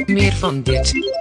C: Meer van dit.